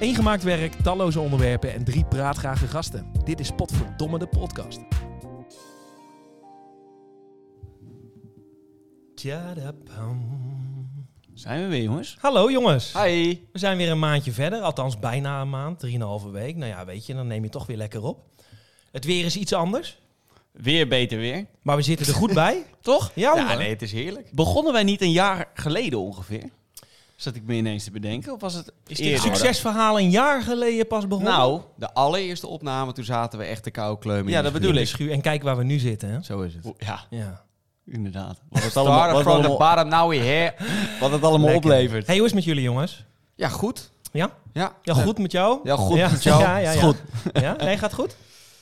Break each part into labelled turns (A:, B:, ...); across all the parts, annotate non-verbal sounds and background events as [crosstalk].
A: Eén gemaakt werk, talloze onderwerpen en drie praatgrage gasten. Dit is Potverdomme de podcast. Tjadapam.
B: Zijn we weer, jongens?
A: Hallo jongens.
B: Hi.
A: We zijn weer een maandje verder, althans bijna een maand, drieënhalve week. Nou ja, weet je, dan neem je toch weer lekker op. Het weer is iets anders,
B: Weer beter weer.
A: maar we zitten er goed bij.
B: Toch?
A: Ja,
B: Ja,
A: hoor.
B: nee, het is heerlijk. Begonnen wij niet een jaar geleden ongeveer? Zat ik me ineens te bedenken. Of was het
A: Is dit
B: eerder?
A: succesverhaal een jaar geleden pas begonnen?
B: Nou,
C: De allereerste opname, toen zaten we echt de kou kleumen. in
B: Ja,
C: de
B: dat
C: schuur.
A: in de schuur. En kijk waar we nu zitten, hè?
C: Zo is het.
B: o- ja,
A: Ja.
B: inderdaad. Wat het allemaal,
C: Started
B: wat het
C: from the
B: allemaal,
C: bottom, now we here.
B: wat het allemaal
A: Lekker.
B: oplevert.
A: Hey, hoe is het met jullie jongens?
C: Ja, goed.
A: Ja?
C: Ja.
A: Ja, goed met jou?
C: Ja, goed met jou.
A: Ja, ja, ja.
C: Is goed.
A: Ja? Nee, gaat goed?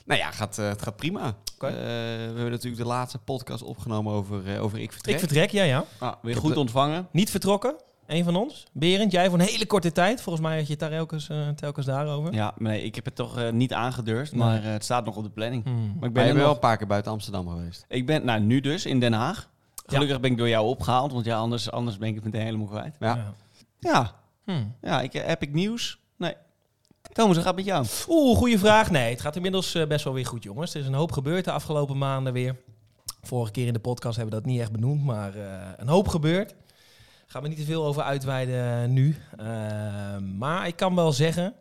C: Nou ja, gaat, eh, het gaat prima.
A: Oké.
C: Eh, we hebben natuurlijk de laatste podcast opgenomen over, eh, over Ik Vertrek.
A: Ik vertrek, ja, ja.
B: Ah, weer
C: Ik
B: goed
C: heb-
B: ontvangen.
A: Niet vertrokken, Eén van ons. Berend, jij voor een hele korte tijd. Volgens mij had je het daar elkens, eh, telkens daarover.
B: Ja, nee, ik heb het toch eh, niet aangedurfd,
A: Nee.
B: maar eh, het staat nog op de planning.
A: Hmm.
B: Maar ik
C: ben
B: ben,
C: je
B: er
C: bent wel
B: nog,
C: een paar keer buiten Amsterdam geweest.
B: ik ben nou, nu dus in Den Haag. Gelukkig ben ik door jou opgehaald, want ja, anders, anders ben ik het meteen helemaal kwijt.
C: Ja.
B: Ja,
A: Hmm.
B: ja ik, eh, heb ik nieuws? Nee. Thomas, hoe gaat het met jou?
A: Oeh, goede vraag. Nee, het gaat inmiddels eh, best wel weer goed, jongens. Er is een hoop gebeurd de afgelopen maanden weer. Vorige keer in de podcast hebben we dat niet echt benoemd, maar eh, een hoop gebeurd. Gaan we niet te veel over uitweiden eh, nu. Eh, maar ik kan wel zeggen,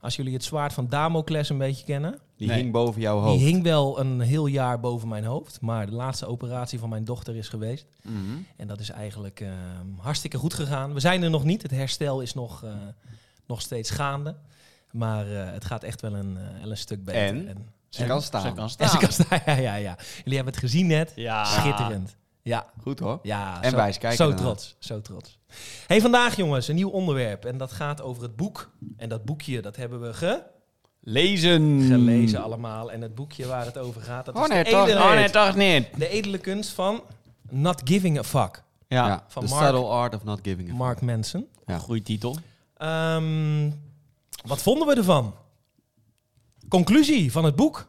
A: als jullie het zwaard van Damocles een beetje kennen.
C: Die
B: Nee.
C: hing boven jouw hoofd.
A: Die hing wel een heel jaar boven mijn hoofd. Maar de laatste operatie van mijn dochter is geweest.
C: Mhm.
A: En dat is eigenlijk eh, hartstikke goed gegaan. We zijn er nog niet. Het herstel is nog, eh, nog steeds gaande. Maar eh, het gaat echt wel een, eh, wel een stuk beter.
C: En? Ze
A: [laughs]
C: kan staan.
B: Zo kan
A: en
B: staan.
A: ze kan staan. Ja, ja, ja. Jullie hebben het gezien net.
B: Ja.
A: Schitterend. Ja,
C: Goed hoor.
A: ja.
C: En
A: zo,
C: wij eens kijken
A: Zo
C: daarna.
A: trots, zo trots. hey, vandaag jongens, een nieuw onderwerp. En dat gaat over het boek. En dat boekje, dat hebben we ge...
B: Lezen.
C: Mm.
A: gelezen allemaal. En het boekje waar het over gaat, dat
C: Oh,
A: is
C: nee,
A: de,
C: toch?
A: edele,
B: Oh nee, toch niet.
A: de edele kunst van Not Giving a Fuck.
B: Ja,
A: van
C: the
A: Mark.
C: subtle art of not giving a fuck.
A: Mark Manson.
C: Ja.
B: goede titel.
A: Ehm, wat vonden we ervan? Conclusie van het boek.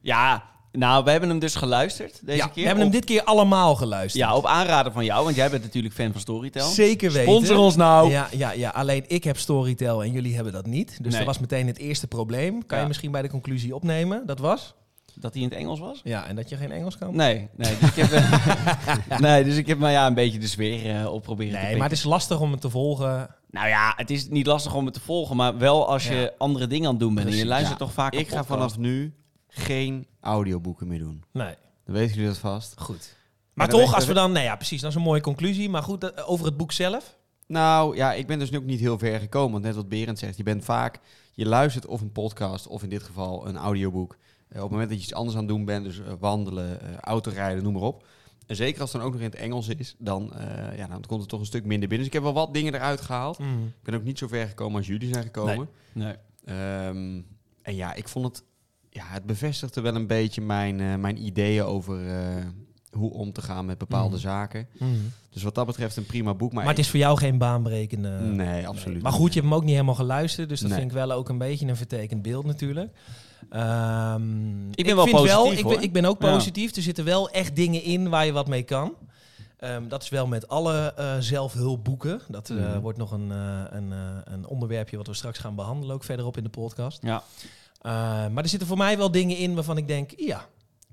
B: Ja, nou, we hebben hem dus geluisterd deze
A: Ja,
B: keer.
A: we hebben hem
B: op,
A: dit keer allemaal geluisterd.
B: Ja, op aanraden van jou, want jij bent natuurlijk fan van Storytel.
A: Zeker weten.
B: Sponsor ons nou.
A: Ja, ja, ja, alleen ik heb Storytel en jullie hebben dat niet. Dus
B: Nee.
A: dat was meteen het eerste probleem. Kan
B: Ja.
A: je misschien bij de conclusie opnemen? Dat was?
B: Dat hij in het Engels was?
A: Ja, en dat je geen Engels kan?
B: Nee, nee, dus ik heb,
A: [laughs]
B: eh, nee, dus ik heb [laughs] nou ja, een beetje de sfeer eh, op proberen te
A: Nee, maar het is lastig om het te volgen.
B: pikken. Nou ja, het is niet lastig om het te volgen, maar wel als je
A: Ja.
B: andere dingen aan het doen bent. en je
C: Precies,
B: luistert
C: ja.
B: toch vaak
C: Ik ga vanaf nu geen audioboeken meer doen.
A: Nee.
C: Dan weten jullie dat vast.
A: Goed. Maar
C: Maar dan
A: toch,
C: weten
A: als
C: we-
A: we dan... Nee, ja, precies. Dat is een mooie conclusie. Maar goed, dat- over het boek zelf.
C: Nou ja, ik ben dus nu ook niet heel ver gekomen. Want net wat Berend zegt, je bent vaak, je luistert of een podcast of in dit geval een audioboek. Eh, op het moment dat je iets anders aan het doen bent, dus eh, wandelen, eh, autorijden, noem maar op. En zeker als het dan ook nog in het Engels is, dan, eh, ja, dan komt het toch een stuk minder binnen. Dus ik heb wel wat dingen eruit gehaald.
B: Mm.
C: Ik ben ook niet zo ver gekomen als jullie zijn gekomen.
B: Nee.
C: Ehm, en ja, ik vond het, ja, het bevestigde wel een beetje mijn, eh, mijn ideeën over eh, hoe om te gaan met bepaalde
A: Mm.
C: zaken.
A: Mm.
C: Dus wat dat betreft een prima boek. Maar,
A: Maar het is voor jou geen baanbrekende...
C: ik- nee, absoluut.
A: Maar
C: niet.
A: goed, je hebt hem ook niet helemaal geluisterd. Dus dat
C: Nee.
A: vind ik wel ook een beetje een vertekend beeld natuurlijk. Ehm,
B: Ik ben wel
A: vind
B: positief,
A: ik,
B: hoor.
A: ben, ik ben ook
B: Ja.
A: positief. Er zitten wel echt dingen in waar je wat mee kan. Ehm, dat is wel met alle eh, zelfhulpboeken. Dat eh,
C: Mhm.
A: wordt nog een, eh, een, eh, een onderwerpje wat we straks gaan behandelen. Ook verderop in de podcast.
B: Ja,
A: Eh, maar er zitten voor mij wel dingen in waarvan ik denk... Ja,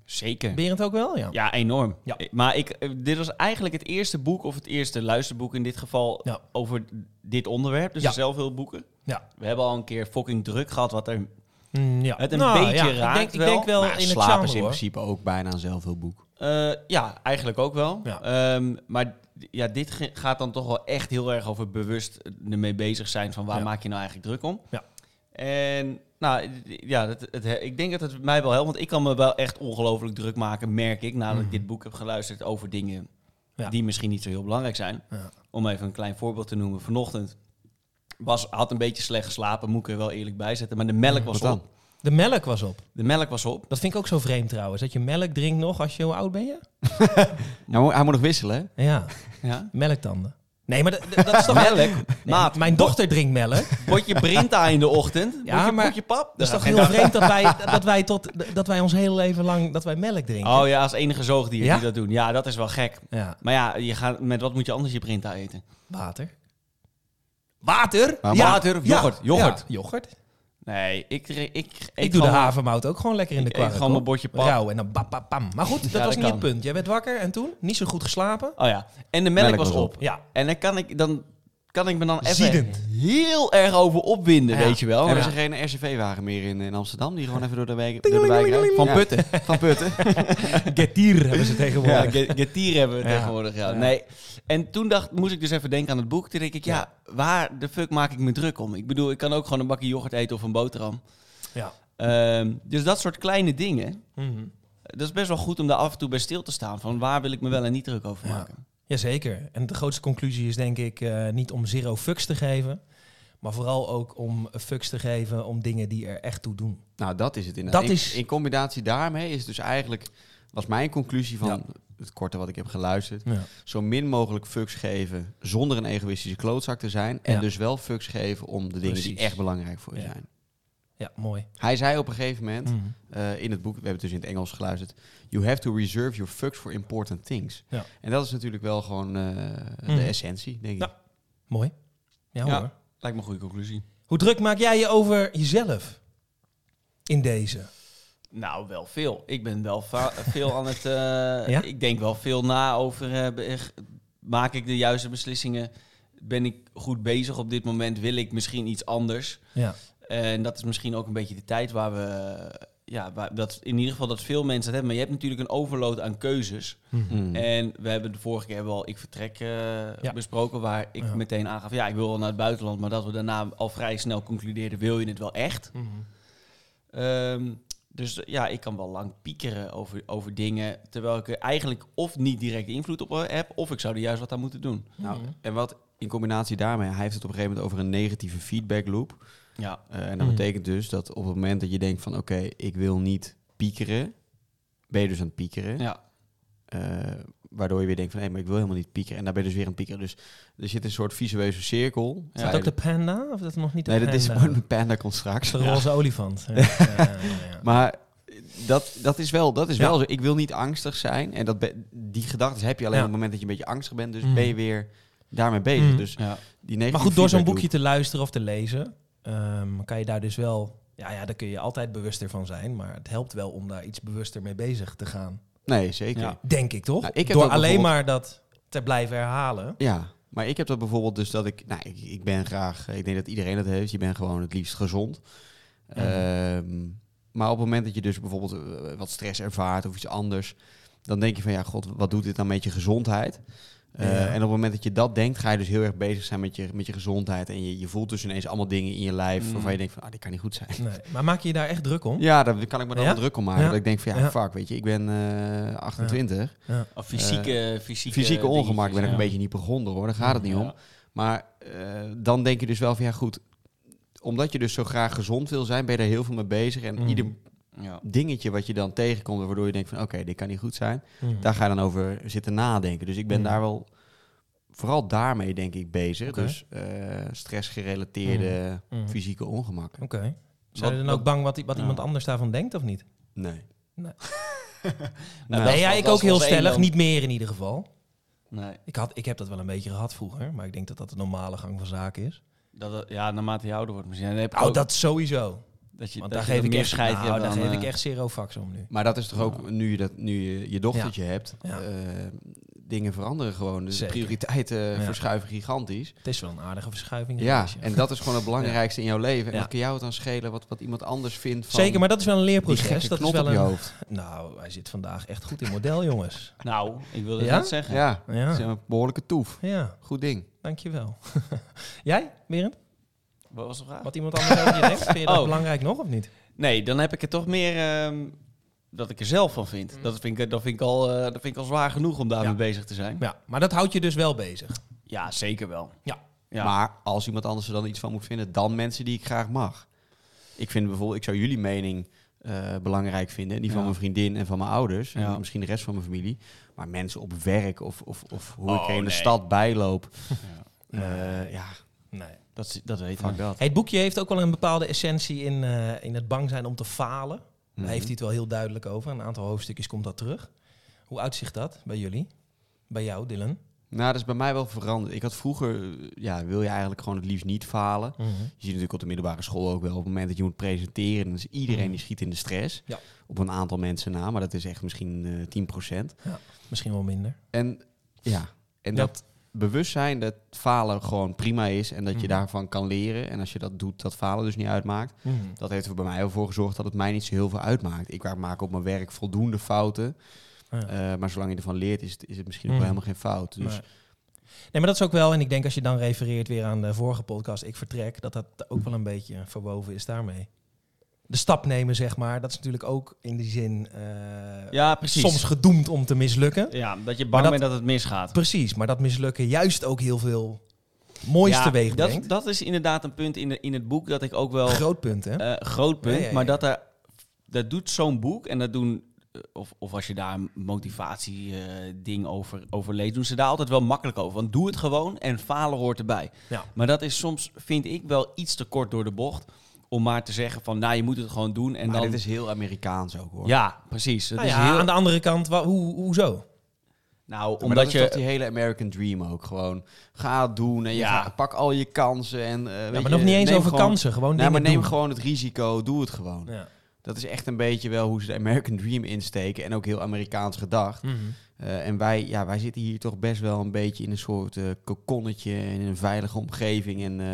B: zeker.
A: Berend ook wel? Ja.
B: Ja, enorm.
A: Ja.
B: Eh, Maar ik, eh, dit was eigenlijk het eerste boek, of het eerste luisterboek in dit geval,
A: Ja.
B: over dit onderwerp. Dus
A: Ja.
B: er zelf veel boeken.
A: Ja.
B: We hebben al een keer fucking druk gehad, wat er...
A: Mm, ja.
B: Het een
A: Nou,
B: beetje
A: ja,
B: raakt
A: ik denk,
B: wel,
A: Ik denk wel
C: Maar
A: in het
C: slaap
A: genre,
C: is in
A: hoor.
C: principe ook bijna een zelfhulpboek.
B: eh, ja, eigenlijk ook wel.
A: Ja.
B: Ehm, maar d- ja, dit ge- gaat dan toch wel echt heel erg over bewust ermee bezig zijn van waar
A: Ja.
B: maak je nou eigenlijk druk om.
A: Ja.
B: En nou, d- ja, dat, het, ik denk dat het mij wel helpt, want ik kan me wel echt ongelooflijk druk maken, merk ik, nadat
A: Mhm.
B: ik dit boek heb geluisterd over dingen
A: Ja.
B: die misschien niet zo heel belangrijk zijn.
A: Ja.
B: Om even een klein voorbeeld te noemen. Vanochtend was, had een beetje slecht geslapen, moet ik er wel eerlijk bij zetten, maar de
A: Mhm.
B: melk was
C: Wat dan?
B: op.
A: De melk was op.
B: De melk was op.
A: Dat vind ik ook zo vreemd trouwens. Dat je melk drinkt nog als je... Hoe oud ben je?
C: Nou, hij moet nog wisselen. hè?
A: Ja,
B: [laughs] Ja.
A: melktanden. Nee, maar dat- dat dat is toch...
B: Melk,
A: Nee,
B: maat,
A: mijn dochter drinkt melk.
B: [laughs]
A: [laughs]
B: potje Brinta in de ochtend.
A: Ja,
B: potje,
A: maar
B: potje pap.
A: Dat is toch
B: En
A: heel vreemd dat wij, dat wij, tot, dat wij ons hele leven lang dat wij melk drinken.
B: Oh ja, als enige zoogdier
A: Ja?
B: die dat doen. Ja, dat is wel gek.
A: Ja,
B: Maar ja, je gaat, met wat moet je anders je Brinta eten?
A: water. Water?
C: Maar water of yoghurt? Yoghurt.
A: Ja, yoghurt.
B: Nee, ik, ik, ik,
A: Ik, doe de havermout ook gewoon lekker in de
B: Ik eet
A: kwark.
B: gewoon
A: hoor.
B: mijn bordje pap.
A: Rauw en dan bap, bap, pam. Maar goed, dat
B: Ja,
A: was
B: dat
A: niet
B: kan.
A: het punt. Jij werd wakker en toen? Niet zo goed geslapen?
B: Oh ja, en de melk,
C: Melk
B: was
C: was
B: op. [laughs]
C: op.
A: Ja.
B: En dan kan ik, dan kan ik me dan even
A: Ziedend.
B: heel erg over opwinden,
A: Ja.
B: weet je wel.
A: Oh, Ja.
B: Maar ze-
C: Hebben ze geen RCV-wagen meer in, in Amsterdam? Die gewoon even door de wijk, door de wijk
A: Tingelingelingeling.
C: rijden?
B: Van
C: Ja,
B: putten.
C: [laughs] Van Putten.
A: Getier hebben ze
B: Ja,
A: tegenwoordig.
B: get- getier hebben we
A: Ja.
B: tegenwoordig. Ja.
C: Ja.
B: Nee. En toen dacht, moest ik dus even denken aan het boek. Toen denk ik, ja, waar de fuck maak ik me druk om? Ik bedoel, ik kan ook gewoon een bakje yoghurt eten of een boterham.
A: Ja.
B: Ehm, dus dat soort kleine dingen.
A: Mhm.
B: Dat is best wel goed om daar af en toe bij stil te staan. Van waar wil ik me wel en niet druk over
A: Ja.
B: maken?
A: Jazeker. En de grootste conclusie is denk ik eh, niet om zero fucks te geven. Maar vooral ook om fucks te geven om dingen die er echt toe doen.
C: Nou, dat is het inderdaad.
A: Dat
C: In-
A: is-
C: In, combinatie daarmee is dus eigenlijk, was mijn conclusie van
A: Ja.
C: het korte wat ik heb geluisterd,
A: Ja.
C: zo min mogelijk fucks geven zonder een egoïstische klootzak te zijn. En
A: Ja.
C: dus wel fucks geven om de dingen die
A: Precies.
C: echt belangrijk voor je
A: Ja.
C: zijn.
A: Ja, mooi.
C: Hij zei op een gegeven moment,
A: Mhm.
C: eh, in het boek, we hebben het dus in het Engels geluisterd, you have to reserve your fucks for important things.
A: Ja.
C: En dat is natuurlijk wel gewoon eh,
A: Mhm.
C: de essentie, denk ik.
A: Ja. Mooi. Ja,
B: Ja.
A: hoor.
B: Lijkt me een goede conclusie.
A: Hoe druk maak jij je over jezelf in deze?
B: Nou, wel veel. Ik ben wel va- [laughs] veel aan het. eh,
A: Ja?
B: Ik denk wel veel na over. eh, be- echt, maak ik de juiste beslissingen? Ben ik goed bezig op dit moment? Wil ik misschien iets anders?
A: Ja.
B: En dat is misschien ook een beetje de tijd waar we. eh, Ja, waar, dat in ieder geval dat veel mensen dat hebben. Maar je hebt natuurlijk een overload aan keuzes.
C: Mm.
B: En we hebben de vorige keer wel ik vertrek eh,
A: Ja.
B: besproken, waar ik
A: Ja.
B: meteen aangaf, ja, ik wil wel naar het buitenland, maar dat we daarna al vrij snel concludeerden, wil je het wel echt?
A: Mhm.
B: Ehm, dus eh, ja, ik kan wel lang piekeren over, over dingen, terwijl ik er eigenlijk of niet direct invloed op eh, heb, of ik zou er juist wat aan moeten doen.
C: Nou,
A: Mhm.
C: en wat in combinatie daarmee, hij heeft het op een gegeven moment over een negatieve feedback loop.
B: Ja,
C: Eh, en dat
A: Mhm.
C: betekent dus dat op het moment dat je denkt van oké, ik wil niet piekeren, ben je dus aan het piekeren.
B: ja.
C: Eh, waardoor je weer denkt van hé, maar ik wil helemaal niet piekeren. En daar ben je dus weer aan het piekeren. Dus er zit een soort visueuze cirkel.
A: Is dat
C: Bij-
A: ook de panda? Of dat nog niet de
C: nee, dat is
A: panda?
C: gewoon een panda komt straks.
A: De roze
C: [laughs]
A: olifant. Ja. Ja, ja, ja.
C: Maar dat, dat is, wel, dat is
A: Ja.
C: wel zo. Ik wil niet angstig zijn. En dat be- die gedachten heb je alleen
A: Ja.
C: op het moment dat je een beetje angstig bent. Dus
A: Mhm.
C: ben je weer daarmee bezig.
A: Mhm.
C: Dus
B: ja.
C: die
A: Maar
C: negatieve
A: goed, door zo'n
C: feedback
A: boekje te luisteren of te lezen, ehm, kan je daar dus wel. Ja, ja, daar kun je altijd bewuster van zijn. Maar het helpt wel om daar iets bewuster mee bezig te gaan.
C: loop- Nee, zeker.
B: Ja.
A: Denk ik toch?
C: Nou, ik heb
A: door
C: dat
A: alleen
C: bijvoorbeeld-
A: maar dat te blijven herhalen.
C: Ja, maar ik heb dat bijvoorbeeld dus dat ik... Nou, ik, ik ben graag... Ik denk dat iedereen dat heeft. Je bent gewoon het liefst gezond. Ehm, maar op het moment dat je dus bijvoorbeeld eh, wat stress ervaart of iets anders... dan denk je van, ja, god, wat doet dit dan met je gezondheid? Eh,
A: Ja.
C: En op het moment dat je dat denkt, ga je dus heel erg bezig zijn met je, met je gezondheid. En je, je voelt dus ineens allemaal dingen in je lijf
B: Mm.
C: waarvan je denkt van, ah, dit kan niet goed zijn.
A: Nee. Maar maak je je daar echt druk om?
C: Ja, daar kan ik me dan
A: Mhm. Ja?
C: wel druk om maken.
A: Ja.
C: Dat ik denk van, ja,
A: Ja.
C: fuck, weet je, ik ben eh, 28.
B: Of fysieke,
A: Eh,
B: fysieke,
C: Fysieke ongemak ben ik
B: dingetjes,
C: een
B: ja.
C: beetje niet begonnen hoor, daar gaat het niet om.
B: Ja.
C: Maar eh, dan denk je dus wel van ja, goed. Omdat je dus zo graag gezond wil zijn, ben je er heel veel mee bezig. En
A: Mm.
C: ieder
B: Ja.
C: dingetje wat je dan tegenkomt, waardoor je denkt van oké, dit kan niet goed zijn,
A: Mhm.
C: daar ga je dan over zitten nadenken. Dus ik ben
A: Mm.
C: daar wel vooral daarmee denk ik bezig.
A: Oké.
C: Dus eh, stressgerelateerde
A: Mhm.
C: fysieke ongemakken.
A: Oké. Zijn
B: Wat-
A: je dan
B: wat-
A: ook bang wat, i- wat
B: Ja.
A: iemand anders daarvan denkt of niet?
C: Nee.
A: Nee.
C: Nou,
B: dat
A: nee,
B: is
A: ja,
B: wel-
A: ik
B: dat
A: ook
B: is
A: heel
B: wel eens één
A: stellig.
B: dan.
A: Niet meer in ieder geval.
B: Nee.
A: Ik, had, ik heb dat wel een beetje gehad vroeger. Maar ik denk dat dat de normale gang van zaken is.
B: Dat, dat- ja, naarmate je ouder wordt misschien. Dan heb ik
A: Oh,
B: ook-
A: dat sowieso.
B: Dat je,
A: Want
B: dat
A: daar
B: je
A: geef
B: er
A: ik
B: meer
A: echt,
B: scheid
A: nou,
B: hebt
A: daar
B: dan,
A: geef ik
B: eh,
A: echt zero fax om nu.
C: Maar dat is toch ook, nu je, dat, nu je, je dochtertje hebt,
A: Ja.
C: eh, dingen veranderen gewoon. Dus de
A: Zeker.
C: prioriteiten
A: Ja.
C: verschuiven gigantisch.
A: Het is wel een aardige verschuiving.
C: Ja,
A: geweest,
C: en dat is gewoon het belangrijkste in jouw leven. En
A: Ja.
C: wat kan jou het dan schelen wat, wat iemand anders vindt van
A: Zeker, maar dat is wel een
C: die gekke
A: leerproces. Dat is
C: knop
A: wel
C: op je
A: een...
C: hoofd.
A: Nou, hij zit vandaag echt goed in model, jongens.
B: Nou, ik wilde
A: Ja?
B: dat zeggen.
C: Ja, dat is
A: Ja,
C: een behoorlijke toef.
A: ja
C: Goed ding.
A: dankjewel. [laughs] Jij, Berend?
B: Wat was de vraag?
A: Wat iemand anders over je denkt? Vind je dat
B: Oh.
A: belangrijk nog of niet?
B: Nee, dan heb ik het toch meer ehm, dat ik er zelf van vind. Dat, vind ik, dat, vind ik al, eh, dat vind ik al zwaar genoeg om daarmee
A: Mm. Ja.
B: bezig te zijn.
A: Ja, maar dat houdt je dus wel bezig.
B: Ja, zeker wel.
A: Ja.
B: ja.
C: Maar als iemand anders er dan iets van moet vinden, dan mensen die ik graag mag. Ik vind bijvoorbeeld, ik zou jullie mening eh, belangrijk vinden. en Die van
B: Ja.
C: mijn vriendin en van mijn ouders.
B: Ja.
C: En misschien de rest van mijn familie. Maar mensen op werk of, of, of hoe
B: Oh,
C: ik er in de
B: nee.
C: stad bijloop.
A: Nee.
C: Eh, ja,
A: Nee.
B: dat, dat weet
C: fuck
B: ik.
C: dat.
A: Hey, het boekje heeft ook wel een bepaalde essentie in, eh, in het bang zijn om te falen. Daar
C: Mhm.
A: heeft hij het wel heel duidelijk over. Een aantal hoofdstukjes komt dat terug. Hoe uitziet dat bij jullie? Bij jou, Dylan?
C: Nou, dat is bij mij wel veranderd. Ik had vroeger, eh, ja, wil je eigenlijk gewoon het liefst niet falen.
A: Mhm.
C: Je ziet natuurlijk op de middelbare school ook wel, op het moment dat je moet presenteren, dan is iedereen die schiet in de stress.
A: Mhm. Ja.
C: Op een aantal mensen na, maar dat is echt misschien eh 10%.
A: Misschien wel minder.
C: En ja, en
A: Ja.
C: dat bewustzijn dat falen gewoon prima is en dat je
A: Mhm.
C: daarvan kan leren. En als je dat doet, dat falen dus niet uitmaakt.
A: Mhm.
C: Dat heeft er bij mij wel voor gezorgd dat het mij niet zo heel veel uitmaakt. Ik maak op mijn werk voldoende fouten.
A: Ja.
C: eh, maar zolang je ervan leert, is het, is het misschien ook
A: Mhm.
C: wel helemaal geen fout. Dus
A: Maar- Nee, maar dat is ook wel, en ik denk als je dan refereert weer aan de vorige podcast, ik vertrek, dat dat ook wel een beetje verwoven is daarmee. De stap nemen, zeg maar, dat is natuurlijk ook in die zin eh,
B: Ja, precies.
A: soms gedoemd om te mislukken.
B: Ja, dat je
A: Maar
B: bang
A: dat-
B: bent dat het misgaat.
A: Precies, maar dat mislukken juist ook heel veel moois
B: Ja,
A: teweeg
B: dat,
A: brengt.
B: dat is inderdaad een punt in, de, in het boek dat ik ook wel...
A: [laughs] Groot punt, hè?
B: eh, groot punt,
A: Ja, ja, ja.
B: maar dat, er, dat doet zo'n boek en dat doen... eh, Of, of als je daar een motivatie-ding over, over leest, doen ze daar altijd wel makkelijk over. Want doe het gewoon en falen hoort erbij.
A: Ja.
B: Maar dat is soms, vind ik, wel iets te kort door de bocht. Om maar te zeggen van, nou, je moet het gewoon doen. En
C: maar
B: dan...
C: dit is heel Amerikaans ook hoor.
B: Ja, precies. Het
A: Nou
B: is
A: ja,
B: heel...
A: aan de andere kant, wa- hoe, hoezo?
B: Nou,
C: Omdat dat
B: omdat
C: is
B: je...
C: toch die hele American Dream ook gewoon. Ga het doen en je
B: Ja.
C: gaat- pak al je kansen. En, eh, weet
A: Ja, maar
C: je,
A: nog niet eens
C: neem
A: over
C: gewoon-
A: kansen, gewoon
C: Nee, maar
A: dingen
C: neem
A: doen.
C: gewoon het risico, doe het gewoon.
A: Ja.
C: Dat is echt een beetje wel hoe ze de American Dream insteken en ook heel Amerikaans gedacht.
A: Mhm.
C: Eh, en wij, ja, wij zitten hier toch best wel een beetje in een soort eh kokonnetje, in een veilige omgeving. En eh,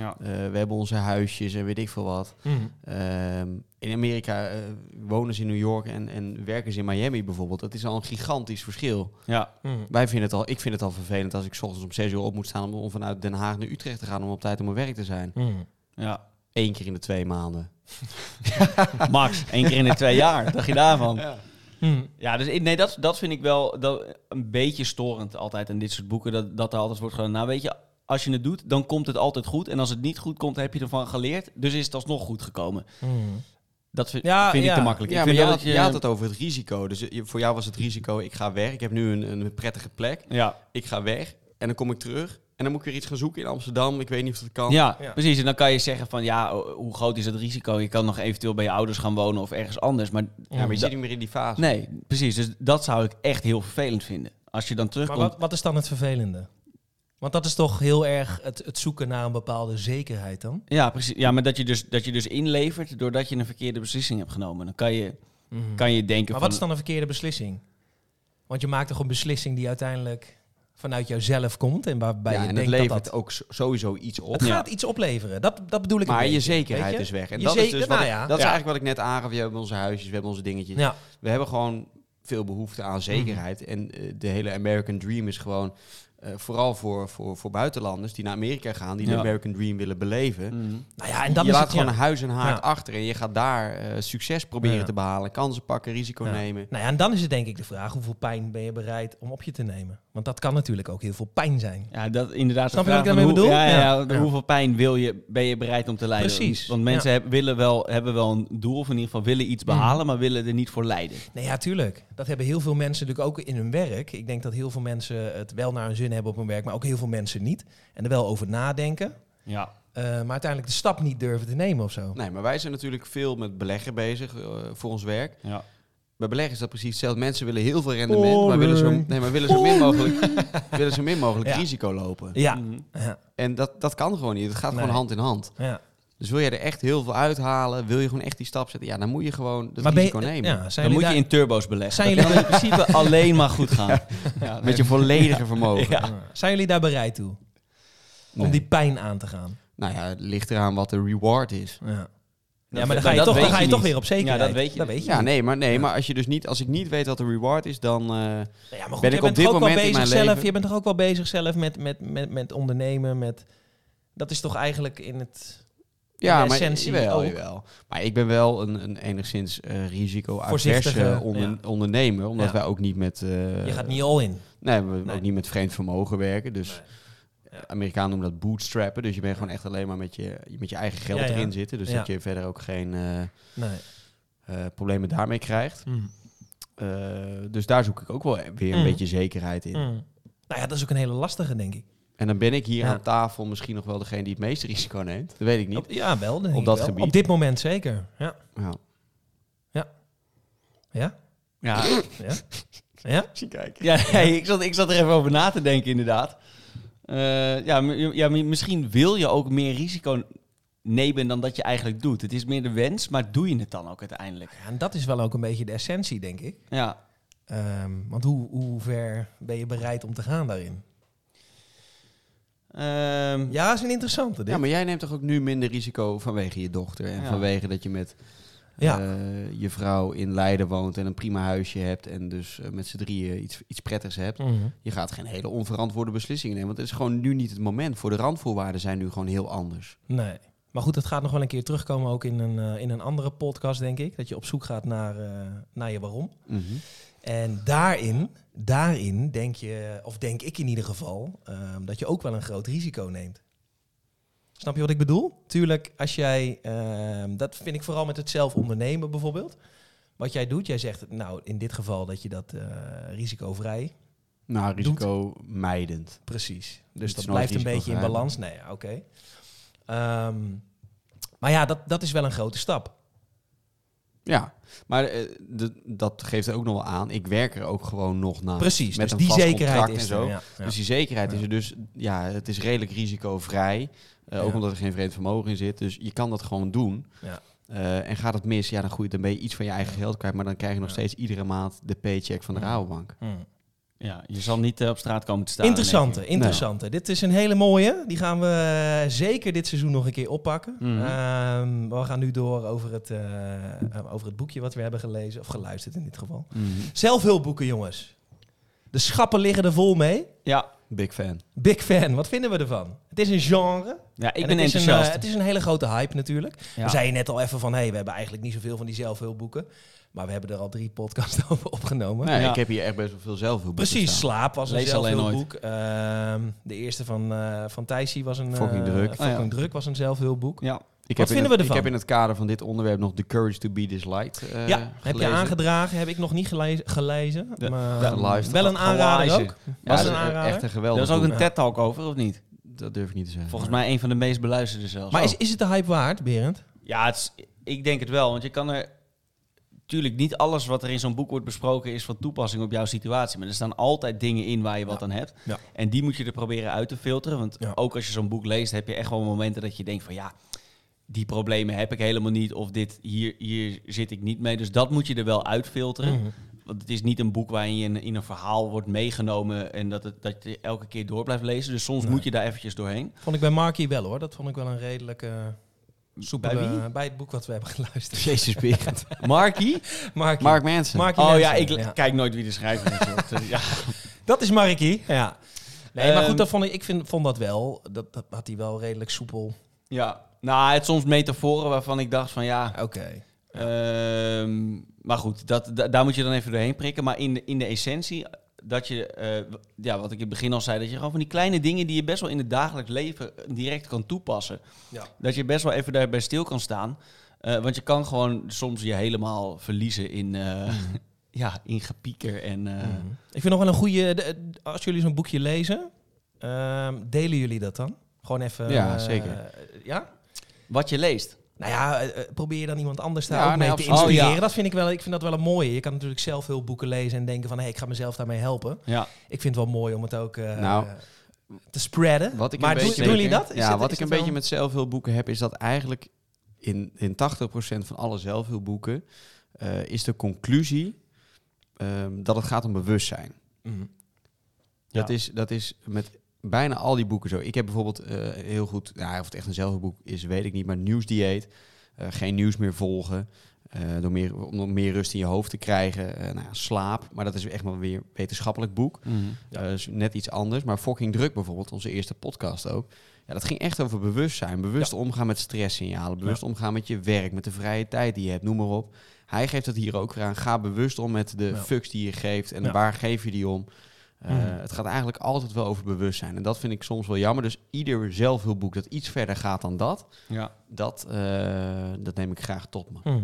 B: Ja.
C: eh, we hebben onze huisjes en weet ik veel wat.
A: Mhm.
C: Ehm, in Amerika eh, wonen ze in New York en, en werken ze in Miami bijvoorbeeld. Dat is al een gigantisch verschil.
B: Ja.
A: Mhm.
C: Wij vinden het al, ik vind het al vervelend als ik 's ochtends om 6 uur op moet staan om, om vanuit Den Haag naar Utrecht te gaan om op tijd op mijn werk te zijn.
A: Mhm.
B: ja.
C: Eén keer in de twee maanden.
B: Max, één keer in de twee jaar. Wat dacht je daarvan?
A: Mhm.
B: Ja, dus ik- nee, dat, dat vind ik wel dat, een beetje storend altijd in dit soort boeken. Dat, dat er altijd wordt gedaan. Nou, weet je, als je het doet, dan komt het altijd goed. En als het niet goed komt, heb je ervan geleerd. Dus is het alsnog goed gekomen.
A: Mhm.
B: Dat vind,
A: Ja,
B: vind
A: ja.
B: ik te makkelijk.
C: Ja,
B: ik
C: maar
B: vind
C: je
B: wel
C: had,
B: dat eh, je-
C: je had het over het risico. Dus je- voor jou was het risico, ik ga weg. Ik heb nu een, een prettige plek.
B: ja.
C: Ik ga weg en dan kom ik terug. En dan moet ik weer iets gaan zoeken in Amsterdam. Ik weet niet of dat kan.
B: Ja,
A: Ja.
B: precies. En dan kan je zeggen van, ja, o- hoe groot is het risico? Je kan nog eventueel bij je ouders gaan wonen of ergens anders. Maar,
C: Ja, maar je zit niet meer in die fase.
B: nee, precies. Dus dat zou ik echt heel vervelend vinden. Als je dan
A: Maar
B: terugkomt...
A: wat, wat is dan het vervelende? Want dat is toch heel erg het, het zoeken naar een bepaalde zekerheid dan?
B: Ja, precies. Ja, maar dat je, dus, dat je dus inlevert doordat je een verkeerde beslissing hebt genomen. Dan kan je, kan je denken
A: Maar
B: van...
A: wat is dan een verkeerde beslissing? Want je maakt toch een beslissing die uiteindelijk vanuit jouzelf komt en waarbij
C: ja,
A: je
C: en het
A: denkt
C: levert
A: dat dat...
C: ook zo- sowieso iets op.
A: Het gaat iets opleveren, dat, dat bedoel ik een
C: Maar je
A: beetje,
C: zekerheid
A: weet
C: is weg. En
A: Je
C: dat is,
A: zeker-
C: dus wat
A: nou
C: ik-
A: ja.
C: dat is
B: Ja.
C: eigenlijk wat ik net aangaf. We hebben onze huisjes, we hebben onze dingetjes.
A: Ja,
C: We hebben gewoon veel behoefte aan zekerheid. En eh, de hele American Dream is gewoon... eh, vooral voor, voor, voor buitenlanders die naar Amerika gaan... die de
B: Ja.
C: American Dream willen beleven.
B: Mhm.
A: nou ja, en dan
C: je
A: is
C: laat
A: het
C: gewoon
A: ja.
C: een huis en haard
A: Ja.
C: achter en je gaat daar eh, succes proberen
A: Ja.
C: te behalen. Kansen pakken, risico
A: Ja.
C: nemen.
A: Nou ja, en dan is het denk ik de vraag, hoeveel pijn ben je bereid om op je te nemen? Want dat kan natuurlijk ook heel veel pijn zijn.
B: Ja, dat inderdaad.
A: Snap
B: de
A: je wat
B: vraag
A: ik
B: van
A: daarmee
B: hoe-
A: bedoel?
B: Ja, ja,
A: Ja.
B: de-
A: Ja.
B: Hoeveel pijn wil je, ben je bereid om te lijden?
A: Precies.
B: Want mensen heb- willen wel, hebben wel een doel, of in ieder geval willen
A: Mhm.
B: iets behalen, maar willen er niet voor lijden.
A: Nee, ja, tuurlijk. Dat hebben heel veel mensen natuurlijk ook in hun werk. Ik denk dat heel veel mensen het wel naar hun zin hebben op hun werk, maar ook heel veel mensen niet. En er wel over nadenken.
B: Ja.
A: Eh, maar uiteindelijk de stap niet durven te nemen of zo.
C: Nee, maar wij zijn natuurlijk veel met beleggen bezig eh, voor ons werk.
B: ja.
C: Bij beleggen is dat precies hetzelfde. Mensen willen heel veel rendement, maar
A: Boring.
C: willen zo, nee, maar willen zo min mogelijk, willen zo min mogelijk
A: Ja.
C: risico lopen.
A: Ja.
B: Mhm.
A: Ja.
C: En dat, dat kan gewoon niet. Het gaat gewoon
A: Nee.
C: hand in hand.
A: ja.
C: Dus wil je er echt heel veel uithalen, wil je gewoon echt die stap zetten, ja, dan moet je gewoon dat
A: Maar ben je-
C: Dus risico nemen.
A: Ja, zijn
B: Dan moet
A: jullie
B: je in turbo's beleggen.
A: Zijn
B: dat
A: jullie-
B: kan in principe
A: [laughs]
B: alleen maar goed gaan. Ja.
C: Met je volledige vermogen.
A: daar, zijn jullie daar bereid toe?
C: Nee.
A: Om die pijn aan te gaan.
C: Nou ja, het ligt eraan wat de reward is.
A: Ja, ja
B: Dat-
A: maar dan
B: dat-
A: ga je,
B: dat
A: toch, dan
B: weet
A: ga
B: je
A: je toch
B: niet.
A: weer op zekerheid.
B: Ja, dat weet je niet.
A: niet.
C: Ja, nee, maar, nee, maar als, je dus niet, als ik niet weet wat de reward is, dan... eh,
A: Nou Ja, maar goed,
C: Ben
A: je
C: ik
A: bent
C: op dit
A: toch ook wel
C: moment in
A: bezig
C: mijn
A: zelf.
C: leven-
A: Je bent toch ook wel bezig zelf met, met, met, met ondernemen. Met, dat is toch eigenlijk in het
C: Ja,
A: de
C: maar
A: essentie
C: jawel,
A: ook.
C: jawel. Maar ik ben wel een, een enigszins eh risico
A: Voorzichtige,
C: averse onder, ondernemer, omdat
A: Ja.
C: wij ook niet met eh,
A: je gaat niet all in.
C: nee, we
A: Nee.
C: ook niet met vreemd vermogen werken, dus
A: Nee. Ja.
C: Amerikanen noemen dat bootstrappen, dus je bent gewoon echt alleen maar met je met je eigen geld
A: Ja, ja.
C: erin zitten, dus
A: Ja.
C: dat je verder ook geen eh,
A: Nee.
C: eh, problemen daarmee krijgt. Eh, dus daar zoek ik ook wel weer een
A: Mm.
C: beetje zekerheid in.
A: Mm. Nou ja, dat is ook een hele lastige, denk ik.
C: En dan ben ik hier
A: Ja.
C: aan tafel misschien nog wel degene die het meeste risico neemt. Dat weet ik niet. Nou.
A: Op- ja, wel. denk
C: Op
A: ik
C: dat
A: wel.
C: gebied.
A: Op dit moment zeker. Ja.
C: Ja.
A: [laughs]
C: [laughs]
A: Ja? ja? Ja?
C: Zie
B: [laughs]
C: kijken.
B: Ja, nee, ik, zat, ik zat er even over na te denken, inderdaad. Eh, ja, m- ja, m- misschien wil je ook meer risico nemen dan dat je eigenlijk doet. Het is meer de wens, maar doe je het dan ook uiteindelijk?
A: Ja, En dat is wel ook een beetje de essentie, denk ik.
B: Ja,
A: Ehm, want hoe, hoe ver ben je bereid om te gaan daarin?
B: Ehm,
A: Ja, is een interessante. Dit.
C: Ja, maar jij neemt toch ook nu minder risico vanwege je dochter en
B: Ja.
C: vanwege dat je met
A: Ja.
C: eh, je vrouw in Leiden woont en een prima huisje hebt en dus eh, met z'n drieën iets, iets prettigs hebt.
A: Mhm.
C: Je gaat geen hele onverantwoorde beslissingen nemen, want het is gewoon nu niet het moment. Voor de randvoorwaarden zijn nu gewoon heel anders.
A: Nee. Maar goed, dat gaat nog wel een keer terugkomen ook in een, eh, in een andere podcast, denk ik. Dat je op zoek gaat naar, eh, naar je waarom. En daarin, daarin denk je, of denk ik in ieder geval, ehm, dat je ook wel een groot risico neemt. Snap je wat ik bedoel? Tuurlijk, als jij, ehm, dat vind ik vooral met het zelf ondernemen bijvoorbeeld. Wat jij doet, jij zegt, nou in dit geval dat je dat eh, risicovrij,
C: Nou, risico mijdend.
A: precies.
C: Het
A: Dus
C: is
A: dat
C: nooit
A: blijft een beetje in
C: risicovrij.
A: balans. Nee, ja, oké. Ehm, maar ja, dat, dat is wel een grote stap.
C: Ja, maar eh, de- dat geeft er ook nog wel aan. Ik werk er ook gewoon nog naar.
A: Precies,
C: Ah, Met
A: dus
C: een
A: die
C: vast
A: zekerheid
C: contract
A: is
C: en zo.
A: er. Ja, ja.
C: Dus die zekerheid is
A: Ja.
C: er dus, ja, het is redelijk risicovrij. Eh, Ook
A: Ja.
C: omdat er geen vreemd vermogen in zit. Dus je kan dat gewoon doen.
A: Ja.
C: Eh, en gaat het mis, ja, dan groeit dan ben je iets van je eigen geld kwijt. Maar dan krijg je nog
A: Ja.
C: steeds iedere maand de paycheck van de
A: Ja.
C: Rabobank.
A: Hmm.
B: ja, je zal niet eh, op straat komen te staan.
A: Interessante,
B: denk ik.
A: interessante. Dit is een hele mooie. Die gaan we eh, zeker dit seizoen nog een keer oppakken.
C: Mhm.
A: Ehm, maar we gaan nu door over het, eh, eh, over het boekje wat we hebben gelezen. Of geluisterd in dit geval.
B: Mhm.
A: Zelfhulpboeken, jongens. De schappen liggen er vol mee.
B: Ja,
C: Big fan.
A: Big fan, wat vinden we ervan? Het is een genre.
B: ja ik
A: En
B: ben
A: het is, een,
B: enthousiast.
A: eh, het is een hele grote hype natuurlijk.
B: Ja.
A: We zeiden net al even van, hé, hey, we hebben eigenlijk niet zoveel van die zelfhulpboeken. Maar we hebben er al drie podcasts [laughs] over opgenomen.
C: Nee,
B: Ja.
C: Ik heb hier echt best wel veel zelf op
A: Precies, Slaap was een
B: Lees alleen
A: zelfhulpboek. Ehm, de eerste van, eh van Thijsie was een... eh,
C: Fucking Druk.
A: Fucking
B: Ah, ja.
A: Druk was een zelfhulpboek.
B: Ja.
C: Ik
A: Wat
C: heb in
A: vinden
C: het-
A: we ervan?
C: Ik heb in het kader van dit onderwerp nog The Courage to Be Disliked eh,
A: ja, heb je
C: gelezen.
A: aangedragen. Heb ik nog niet gelezen. gelezen
B: Ja,
A: maar, ehm,
C: geluisterd.
A: wel een aanrader
B: Gelezen.
A: ook.
C: Ja,
A: Was
C: dat
A: een
C: is
A: aanrader.
C: Echt een
B: Er
C: geweldig
B: is ook een
A: Ja.
B: TED-talk over, of niet?
C: Dat durf ik niet te zeggen.
B: Volgens mij een van de meest beluisterde zelfs. Oh.
A: Maar is, is het de hype waard, Berend?
B: Ja, het is- ik denk het wel. Want je kan er... Tuurlijk, niet alles wat er in zo'n boek wordt besproken is van toepassing op jouw situatie. Maar er staan altijd dingen in waar je wat aan hebt.
A: Ja.
B: En die moet je er proberen uit te filteren. Want
A: Ja.
B: ook als je zo'n boek leest, heb je echt wel momenten dat je denkt van... ja, die problemen heb ik helemaal niet. Of dit, hier, hier zit ik niet mee. Dus dat moet je er wel
A: Mhm.
B: uitfilteren. Want het is niet een boek waarin je in, in een verhaal wordt meegenomen... en dat, het, dat je elke keer door blijft lezen. Dus soms
A: Nee.
B: moet je daar eventjes doorheen. [laughs]
A: Vond ik bij Marky wel hoor. Dat vond ik wel een redelijke... soepele-
B: Bij wie?
A: bij het boek wat we hebben [laughs] geluisterd.
C: [laughs] Jezus,
A: [laughs]
C: Berend.
B: Markie?
A: Marky.
C: Mark Manson.
A: Marky
B: Oh ja,
A: Jensen,
B: ik le- kijk nooit wie de schrijver is. hoor. [laughs] Dus ja.
A: Dat is Marky. Ja. Nee, maar
B: Ehm,
A: goed, dat vond ik, ik vind, vond dat wel. Dat, dat had hij wel redelijk soepel.
B: Ja, nou, het soms metaforen waarvan ik dacht van ja,
A: Oké.
B: ehm, maar goed, dat, da- daar moet je dan even doorheen prikken. Maar in de, in de essentie, dat je, eh, w- ja, wat ik in het begin al zei, dat je gewoon van die kleine dingen die je best wel in het dagelijks leven direct kan toepassen,
A: Ja.
B: dat je best wel even daarbij stil kan staan. Eh, want je kan gewoon soms je helemaal verliezen in, eh, [laughs] ja, in gepieker en... eh,
A: Mhm. Ik vind nog wel een goede. de- de- Als jullie zo'n boekje lezen, ehm, delen jullie dat dan? Gewoon even.
C: Ja,
A: eh,
C: zeker.
A: ja?
B: Wat je leest.
A: Nou ja, eh, eh, probeer je dan iemand anders daar
C: Ja,
A: ook
C: nee,
A: mee te
C: absoluut.
A: inspireren.
B: Oh, ja.
A: dat vind ik, wel, ik vind dat wel een mooie. Je kan natuurlijk zelf heel boeken lezen en denken van... hé, hey, ik ga mezelf daarmee helpen.
B: Ja.
A: Ik vind het wel mooi om het ook eh,
C: Nou,
A: te spreaden.
C: Wat ik
A: maar
C: een
A: doen-
C: beetje,
A: doen jullie dat? Is
C: ja,
A: het-
C: wat
A: is
C: ik een
A: het wel-
C: beetje met zelfhulpboeken heb, is dat eigenlijk in, in 80% van alle zelfhulpboeken eh, is de conclusie ehm, dat het gaat om bewustzijn.
A: Mhm.
B: Ja.
C: Dat, is, dat is met bijna al die boeken zo. Ik heb bijvoorbeeld eh, heel goed, nou, of het echt een zelfhulpboek is, weet ik niet, maar nieuwsdieet. Eh, geen nieuws meer volgen. eh, door meer, om nog meer rust in je hoofd te krijgen. Eh, nou ja, slaap, maar dat is echt maar weer een wetenschappelijk boek.
A: Ja.
C: Ja. Eh, is net iets anders. Maar fucking druk bijvoorbeeld, onze eerste podcast ook. Ja, dat ging echt over bewustzijn. Bewust omgaan met stresssignalen. Bewust omgaan met je werk, met de vrije tijd die je hebt, noem maar op. Hij geeft dat hier ook weer aan. Ga bewust om met de
A: Ja.
C: fucks die je geeft en
A: Ja.
C: waar geef je die om. Uh,
A: Mhm.
C: Het gaat eigenlijk altijd wel over bewustzijn. En dat vind ik soms wel jammer. Dus ieder zelfhulpboek dat iets verder gaat dan dat,
B: Ja.
C: dat, eh, dat neem ik graag tot me.
A: Mhm.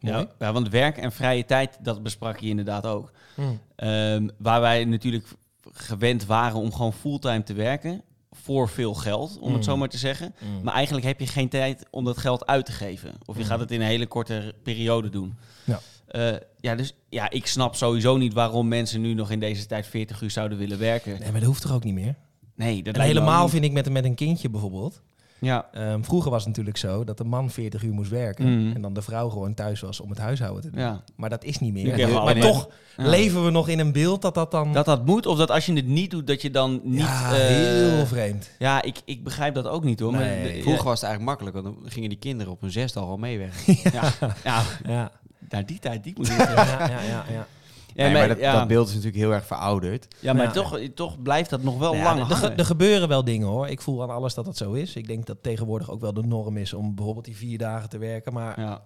A: Mooi.
B: Ja, ja, want werk en vrije tijd, dat besprak je inderdaad ook.
A: Mhm.
B: Ehm, waar wij natuurlijk gewend waren om gewoon fulltime te werken. Voor veel geld, om
A: Mm.
B: het zo maar te zeggen.
A: Mhm.
B: Maar eigenlijk heb je geen tijd om dat geld uit te geven. Of je
A: Mm.
B: gaat het in een hele korte periode doen.
A: Ja.
B: Eh, ja, dus ja, ik snap sowieso niet waarom mensen nu nog in deze tijd 40 uur zouden willen werken.
A: Nee, maar dat hoeft toch ook niet meer?
B: Nee, dat
A: En
B: lijkt me
A: helemaal
B: ook niet.
A: vind ik met, met een kindje bijvoorbeeld.
B: Ja,
A: Ehm, vroeger was het natuurlijk zo dat de man 40 uur moest werken.
B: Mhm.
A: En dan de vrouw gewoon thuis was om het huishouden te doen.
B: ja.
A: Maar dat is niet
B: Nu
A: meer.
B: krijgen we
A: maar
B: allemaal-
A: toch
B: Ja.
A: leven we nog in een beeld dat dat dan...
B: Dat dat moet, of dat als je het niet doet, dat je dan niet...
A: ja,
B: eh,
A: heel vreemd.
B: ja ik, ik begrijp dat ook niet hoor. maar
A: Nee. [laughs]
B: de-
C: Vroeger was het eigenlijk makkelijk, want dan gingen die kinderen op hun zesde al mee weg.
B: ja, ja,
A: Ja,
B: naar die tijd, die moet ik-
A: ja, ja, ja, ja.
B: Ja,
C: nee, maar
B: maar-
C: dat,
B: ja.
C: dat beeld is natuurlijk heel erg verouderd.
B: Ja, maar
A: Ja.
B: Toch, toch blijft dat nog wel
A: Nou ja,
B: lang
A: er- er,
B: hangen.
A: ge- er gebeuren wel dingen hoor. Ik voel aan alles dat dat zo is. Ik denk dat tegenwoordig ook wel de norm is om bijvoorbeeld die vier dagen te werken. Maar
B: ja.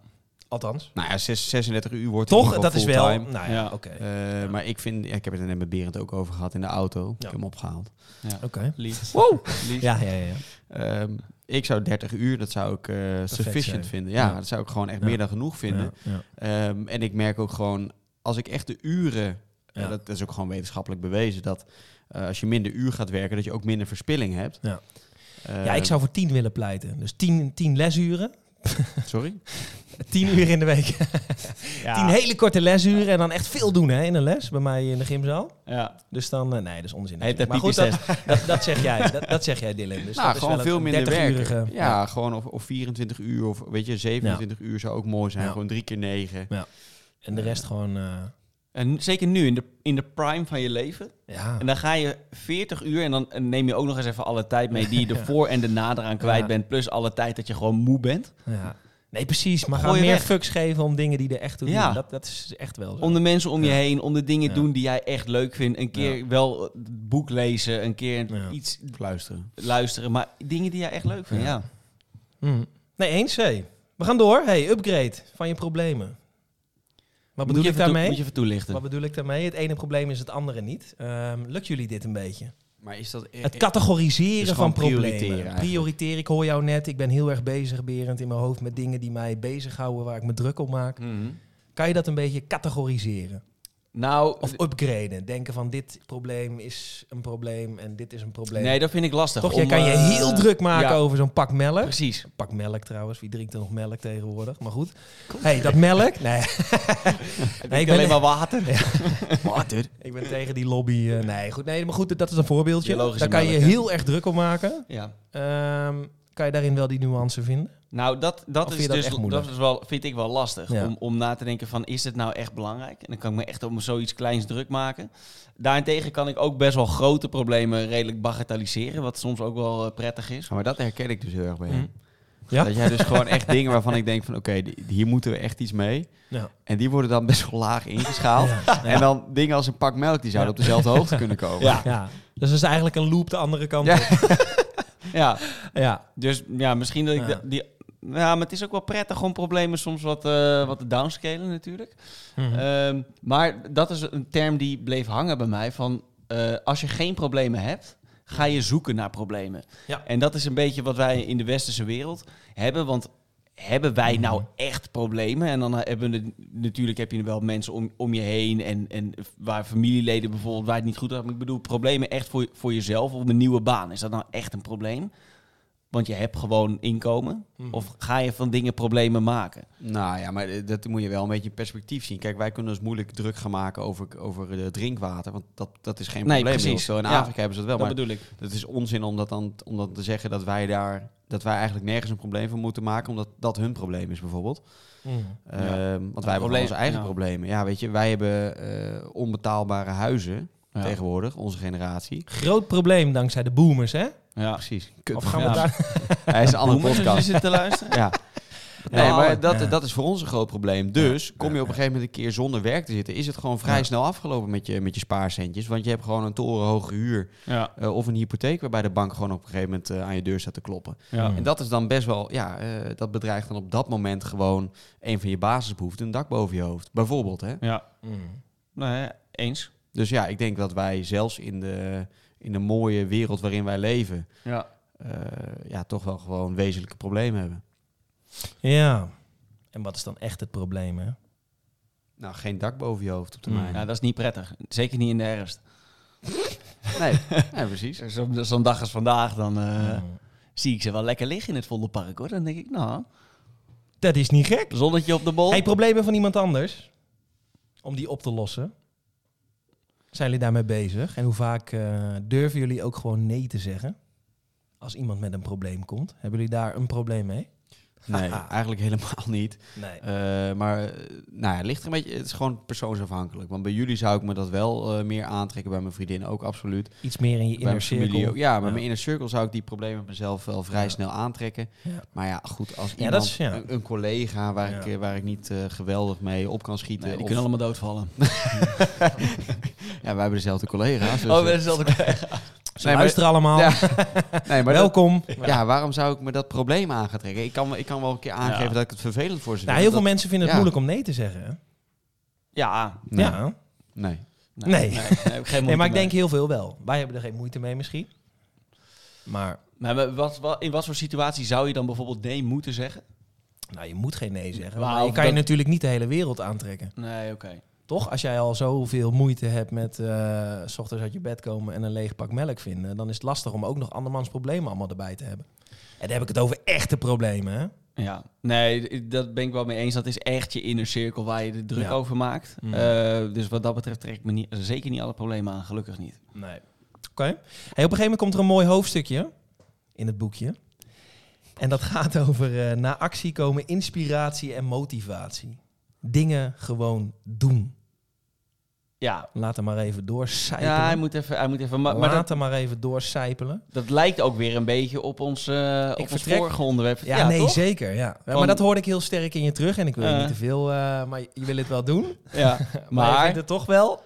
A: althans,
C: Nou ja, zes- 36 uur wordt in
A: toch,
C: ieder
A: dat
C: geval
A: is wel.
C: fulltime.
A: Nou ja,
B: Ja.
A: oké.
C: Eh, Maar ik vind, ja, ik heb het er net met Berend ook over gehad in de auto. Ik heb hem opgehaald.
A: Oké.
B: Lief.
C: Wow.
B: Lief.
A: Ja, ja, ja, ja.
C: Ehm, ik zou 30 uur, dat zou ik eh, sufficient
A: zijn.
C: vinden. Ja,
A: Ja.
C: dat zou ik gewoon echt
A: Ja.
C: meer dan genoeg vinden.
A: Ja, ja.
C: Ehm, en ik merk ook gewoon, als ik echt de uren... eh,
A: Ja.
C: dat is ook gewoon wetenschappelijk bewezen dat eh, als je minder uur gaat werken, dat je ook minder verspilling hebt.
A: Ja.
C: Ehm,
A: Ja, ik zou voor tien willen pleiten. Dus tien, tien lesuren.
C: Sorry?
A: Tien uur in de week. Tien hele korte lesuren en dan echt veel doen hè, in een les bij mij in de gymzaal.
C: Nou,
B: Ja.
A: Dus dan, eh, nee, dat is onzin.
B: Heet
A: natuurlijk.
B: dat
A: maar goed, dat, dat, dat zeg jij. Dat, dat zeg jij, Dylan. Dus dat
C: nou,
A: is
C: gewoon
A: wel
C: veel
A: een
C: minder
A: 30-urige-
C: werken. Ja, gewoon of, of 24 uur of weet je, 27 uur zou ook mooi zijn.
A: Ja.
C: Gewoon drie keer negen.
A: En de rest gewoon. eh,
B: En zeker nu, in de, in de prime van je leven.
A: ja.
B: En dan ga je 40 uur en dan en neem je ook nog eens even alle tijd mee [laughs] die je de voor- en de nader aan kwijt
A: Ja.
B: bent. Plus alle tijd dat je gewoon moe bent.
A: Ja. Nee, precies. Maar
B: Gooi
A: gaan
B: je
A: meer
B: weg.
A: fucks geven om dingen die er echt toe doen.
B: Ja.
A: Dat, dat is echt wel zo.
B: Om de mensen om je
A: Ja.
B: heen, om de dingen
A: Ja.
B: doen die jij echt leuk vindt. Een keer wel het boek lezen, een keer
A: Ja.
B: iets
C: Luisteren.
B: luisteren. Maar dingen die jij echt leuk vindt,
A: Ja.
B: ja.
A: Hm. Nee, eens. hé. We gaan door. Hey, upgrade van je problemen. Wat
B: Moet
A: bedoel
B: je
A: ik
B: even toe-
A: daarmee?
B: Moet je even toelichten.
A: Wat bedoel ik daarmee? Het ene probleem is het andere niet. Ehm, lukt jullie dit een beetje?
C: Maar is dat... e-
B: Eh,
A: Het categoriseren
C: Dus
A: van
C: gewoon
A: problemen.
C: prioriteren
A: Prioriteren.
C: eigenlijk.
A: ik hoor jou net. Ik ben heel erg bezig, Berend, in mijn hoofd met dingen die mij bezighouden, waar ik me druk op maak.
B: Mhm.
A: Kan je dat een beetje categoriseren?
B: Nou,
A: Of upgraden? Denken van dit probleem is een probleem en dit is een probleem.
B: nee, dat vind ik lastig.
A: Toch, jij
B: om,
A: kan je
B: eh,
A: heel druk maken
B: ja.
A: over zo'n pak melk.
B: Precies.
A: Pak melk trouwens, wie drinkt er nog melk tegenwoordig? Maar goed. hey, dat melk?
B: [laughs]
A: Nee,
B: ik
A: ben-
B: alleen maar
A: [laughs]
B: water.
C: Water.
A: ik ben tegen die lobby. eh, nee, goed. Nee, maar goed, dat is een voorbeeldje. Daar
B: Biologische
A: kan je
B: melk, hè?
A: heel erg druk om maken.
B: Ja.
A: Ehm, kan je daarin wel die nuance vinden?
B: Nou, dat,
A: Of
B: dat
A: vind je
B: is
A: dat
B: dus
A: echt moeilijk?
B: dat is wel, vind ik wel lastig.
A: Ja.
B: Om, om na te denken van, is dit nou echt belangrijk? En dan kan ik me echt om zoiets kleins druk maken. Daarentegen kan ik ook best wel grote problemen redelijk bagatelliseren. Wat soms ook wel eh, prettig is.
C: Ja, maar dat herken ik dus heel erg bij
A: Mhm.
C: hem.
A: Ja?
C: Dat jij dus gewoon echt dingen waarvan ik denk van... Oké, die- hier moeten we echt iets mee.
A: Ja.
C: En die worden dan best wel laag ingeschaald.
A: Ja.
C: En dan dingen als een pak melk, die zouden
A: Ja.
C: op dezelfde hoogte kunnen komen.
B: Ja,
A: Ja. Dus dat is eigenlijk een loop de andere kant
C: Ja.
A: op.
B: ja.
A: Ja.
B: dus ja, misschien dat ik
A: Ja.
B: da- die... Ja, maar het is ook wel prettig om problemen soms wat, eh, wat te downscalen natuurlijk.
A: Mhm. Hm.
B: Ehm, maar dat is een term die bleef hangen bij mij. Van, eh, als je geen problemen hebt, ga je zoeken naar problemen.
A: Ja.
B: En dat is een beetje wat wij in de westerse wereld hebben. Want hebben wij nou echt problemen? En dan hebben we natuurlijk heb je wel mensen om, om je heen en, en waar familieleden bijvoorbeeld waar het niet goed gaat. Maar ik bedoel, problemen echt voor, voor jezelf of een nieuwe baan. Is dat nou echt een probleem? Want je hebt gewoon inkomen.
A: Mhm.
B: Of ga je van dingen problemen maken?
C: Nou ja, maar eh, dat moet je wel een beetje in perspectief zien. Kijk, wij kunnen ons moeilijk druk gaan maken over, over eh, drinkwater. Want dat, dat is geen
B: Nee,
C: probleem.
B: precies.
C: Zo In
B: Ja.
C: Afrika hebben ze dat wel.
B: dat
C: maar
B: bedoel ik.
C: het is onzin om dat dan om dat te zeggen dat wij daar dat wij eigenlijk nergens een probleem van moeten maken, omdat dat hun probleem is bijvoorbeeld.
A: Mhm.
C: Ehm, want wij hebben gewoon
B: probleem-
C: onze eigen
B: ja.
C: problemen. Ja, weet je, wij hebben eh, onbetaalbare huizen
B: Ja.
C: tegenwoordig, onze generatie.
A: Groot probleem dankzij de boomers, hè?
B: Ja.
C: Precies.
A: Of gaan we
B: Ja.
A: daar...
C: Hij is een andere
B: Boemers,
C: podcast.
B: zitten te luisteren.
C: Ja. Nee, maar dat,
A: Ja.
C: dat is voor ons een groot probleem. Dus kom je op een gegeven moment een keer zonder werk te zitten, is het gewoon vrij
A: Ja.
C: snel afgelopen met je, met je spaarcentjes. Want je hebt gewoon een torenhoge huur
B: Ja,
C: eh, of een hypotheek waarbij de bank gewoon op een gegeven moment eh, aan je deur staat te kloppen.
A: Ja.
C: En dat is dan best wel, ja, eh, dat bedreigt dan op dat moment gewoon een van je basisbehoeften, een dak boven je hoofd, bijvoorbeeld. Hè?
B: ja.
A: Mhm.
B: Nee, eens.
C: Dus ja, ik denk dat wij zelfs in de, in de mooie wereld waarin wij leven,
B: Ja.
C: eh, ja, toch wel gewoon wezenlijke problemen hebben.
A: Ja. En wat is dan echt het probleem, hè?
C: Nou, geen dak boven je hoofd op
A: Mm.
C: [laughs] termijn.
B: ja, dat is niet prettig. Zeker niet in de herfst.
C: Nee, nee, precies.
B: Zo- Zo'n dag als vandaag, dan eh,
A: Mm.
B: zie ik ze wel lekker liggen in het Vondelpark, hoor. Dan denk ik, nou,
A: Dat is niet gek.
B: zonnetje op de bol.
A: Hey, problemen van iemand anders. om die op te lossen? Zijn jullie daarmee bezig? En hoe vaak eh, durven jullie ook gewoon nee te zeggen? Als iemand met een probleem komt, hebben jullie daar een probleem mee?
C: Nee,
A: Haha.
C: [laughs] eigenlijk helemaal niet.
A: Nee.
C: Eh, maar eh, nou ja, het ligt er een beetje. Het is gewoon persoonsafhankelijk. Want bij jullie zou ik me dat wel eh, meer aantrekken. Bij mijn vriendin ook absoluut.
A: Iets meer in je
C: Bij mijn
A: inner cirkel.
C: familie ook. Ja, bij
A: Ja.
C: mijn inner circle zou ik die problemen met mezelf wel vrij
A: Ja.
C: snel aantrekken.
A: Ja.
C: Maar ja, goed, als
A: Ja,
C: iemand,
A: dat is- ja.
C: Een, een collega waar,
A: Ja.
C: ik, eh, waar ik niet eh, geweldig mee op kan schieten.
B: Nee, die
C: of-
B: kunnen
C: [laughs]
B: allemaal doodvallen.
C: ja, wij hebben dezelfde collega's. dus,
B: Oh,
C: eh,
B: dat is [laughs] altijd...
A: Ze
C: Nee, maar-
A: luisteren allemaal.
C: Ja, nee, maar dat-
A: Welkom.
C: ja, waarom zou ik me dat probleem aan gaan trekken? Ik kan, me- ik kan wel een keer aangeven
B: Ja.
C: dat ik het vervelend voor ze
A: Nou,
C: vind,
A: heel veel
C: dat-
A: mensen vinden het
C: ja.
A: moeilijk om nee te zeggen. hè?
B: Ja.
C: Nee,
A: Ja.
C: nee.
A: Nee.
B: nee, daar heb ik geen
A: Nee, maar
B: moeite
A: ik
B: mee.
A: denk heel veel wel. Wij hebben er geen moeite mee misschien. Maar
B: Maar wat, wat- in wat voor situatie zou je dan bijvoorbeeld nee moeten zeggen?
A: nou, je moet geen nee zeggen.
B: Nou,
A: Maar je
B: of
A: kan je
B: dat-
A: natuurlijk niet de hele wereld aantrekken.
B: Nee, oké.
A: Toch? Als jij al zoveel moeite hebt met eh, s ochtends uit je bed komen en een leeg pak melk vinden, dan is het lastig om ook nog andermans problemen allemaal erbij te hebben. En dan heb ik het over echte problemen. Hè?
B: Ja, nee, d- dat ben ik wel mee eens. Dat is echt je inner cirkel waar je de druk
A: Ja.
B: over maakt.
A: Mm.
B: Eh, dus wat dat betreft trek ik me niet, zeker niet alle problemen aan, gelukkig niet.
A: Nee. Oké. Hey, op een gegeven moment komt er een mooi hoofdstukje in het boekje. En dat gaat over eh, na actie komen inspiratie en motivatie. Dingen gewoon doen.
B: Ja,
A: Laat hem maar even doorcijpelen.
B: ja hij moet even. Hij moet even maar maar
A: Laat
B: dat,
A: hem maar even doorcijpelen.
B: dat lijkt ook weer een beetje op ons, eh, op ons
A: vertrek.
B: vorige onderwerp.
A: Ja, nee, zeker. Ja. Ja,
B: Van-
A: maar dat hoorde ik heel sterk in je terug. En ik wil je
B: Eh.
A: niet te veel, eh, maar je wil het wel
B: [laughs]
A: doen. Maar,
B: Ja,
A: je
B: maar
A: vindt het toch wel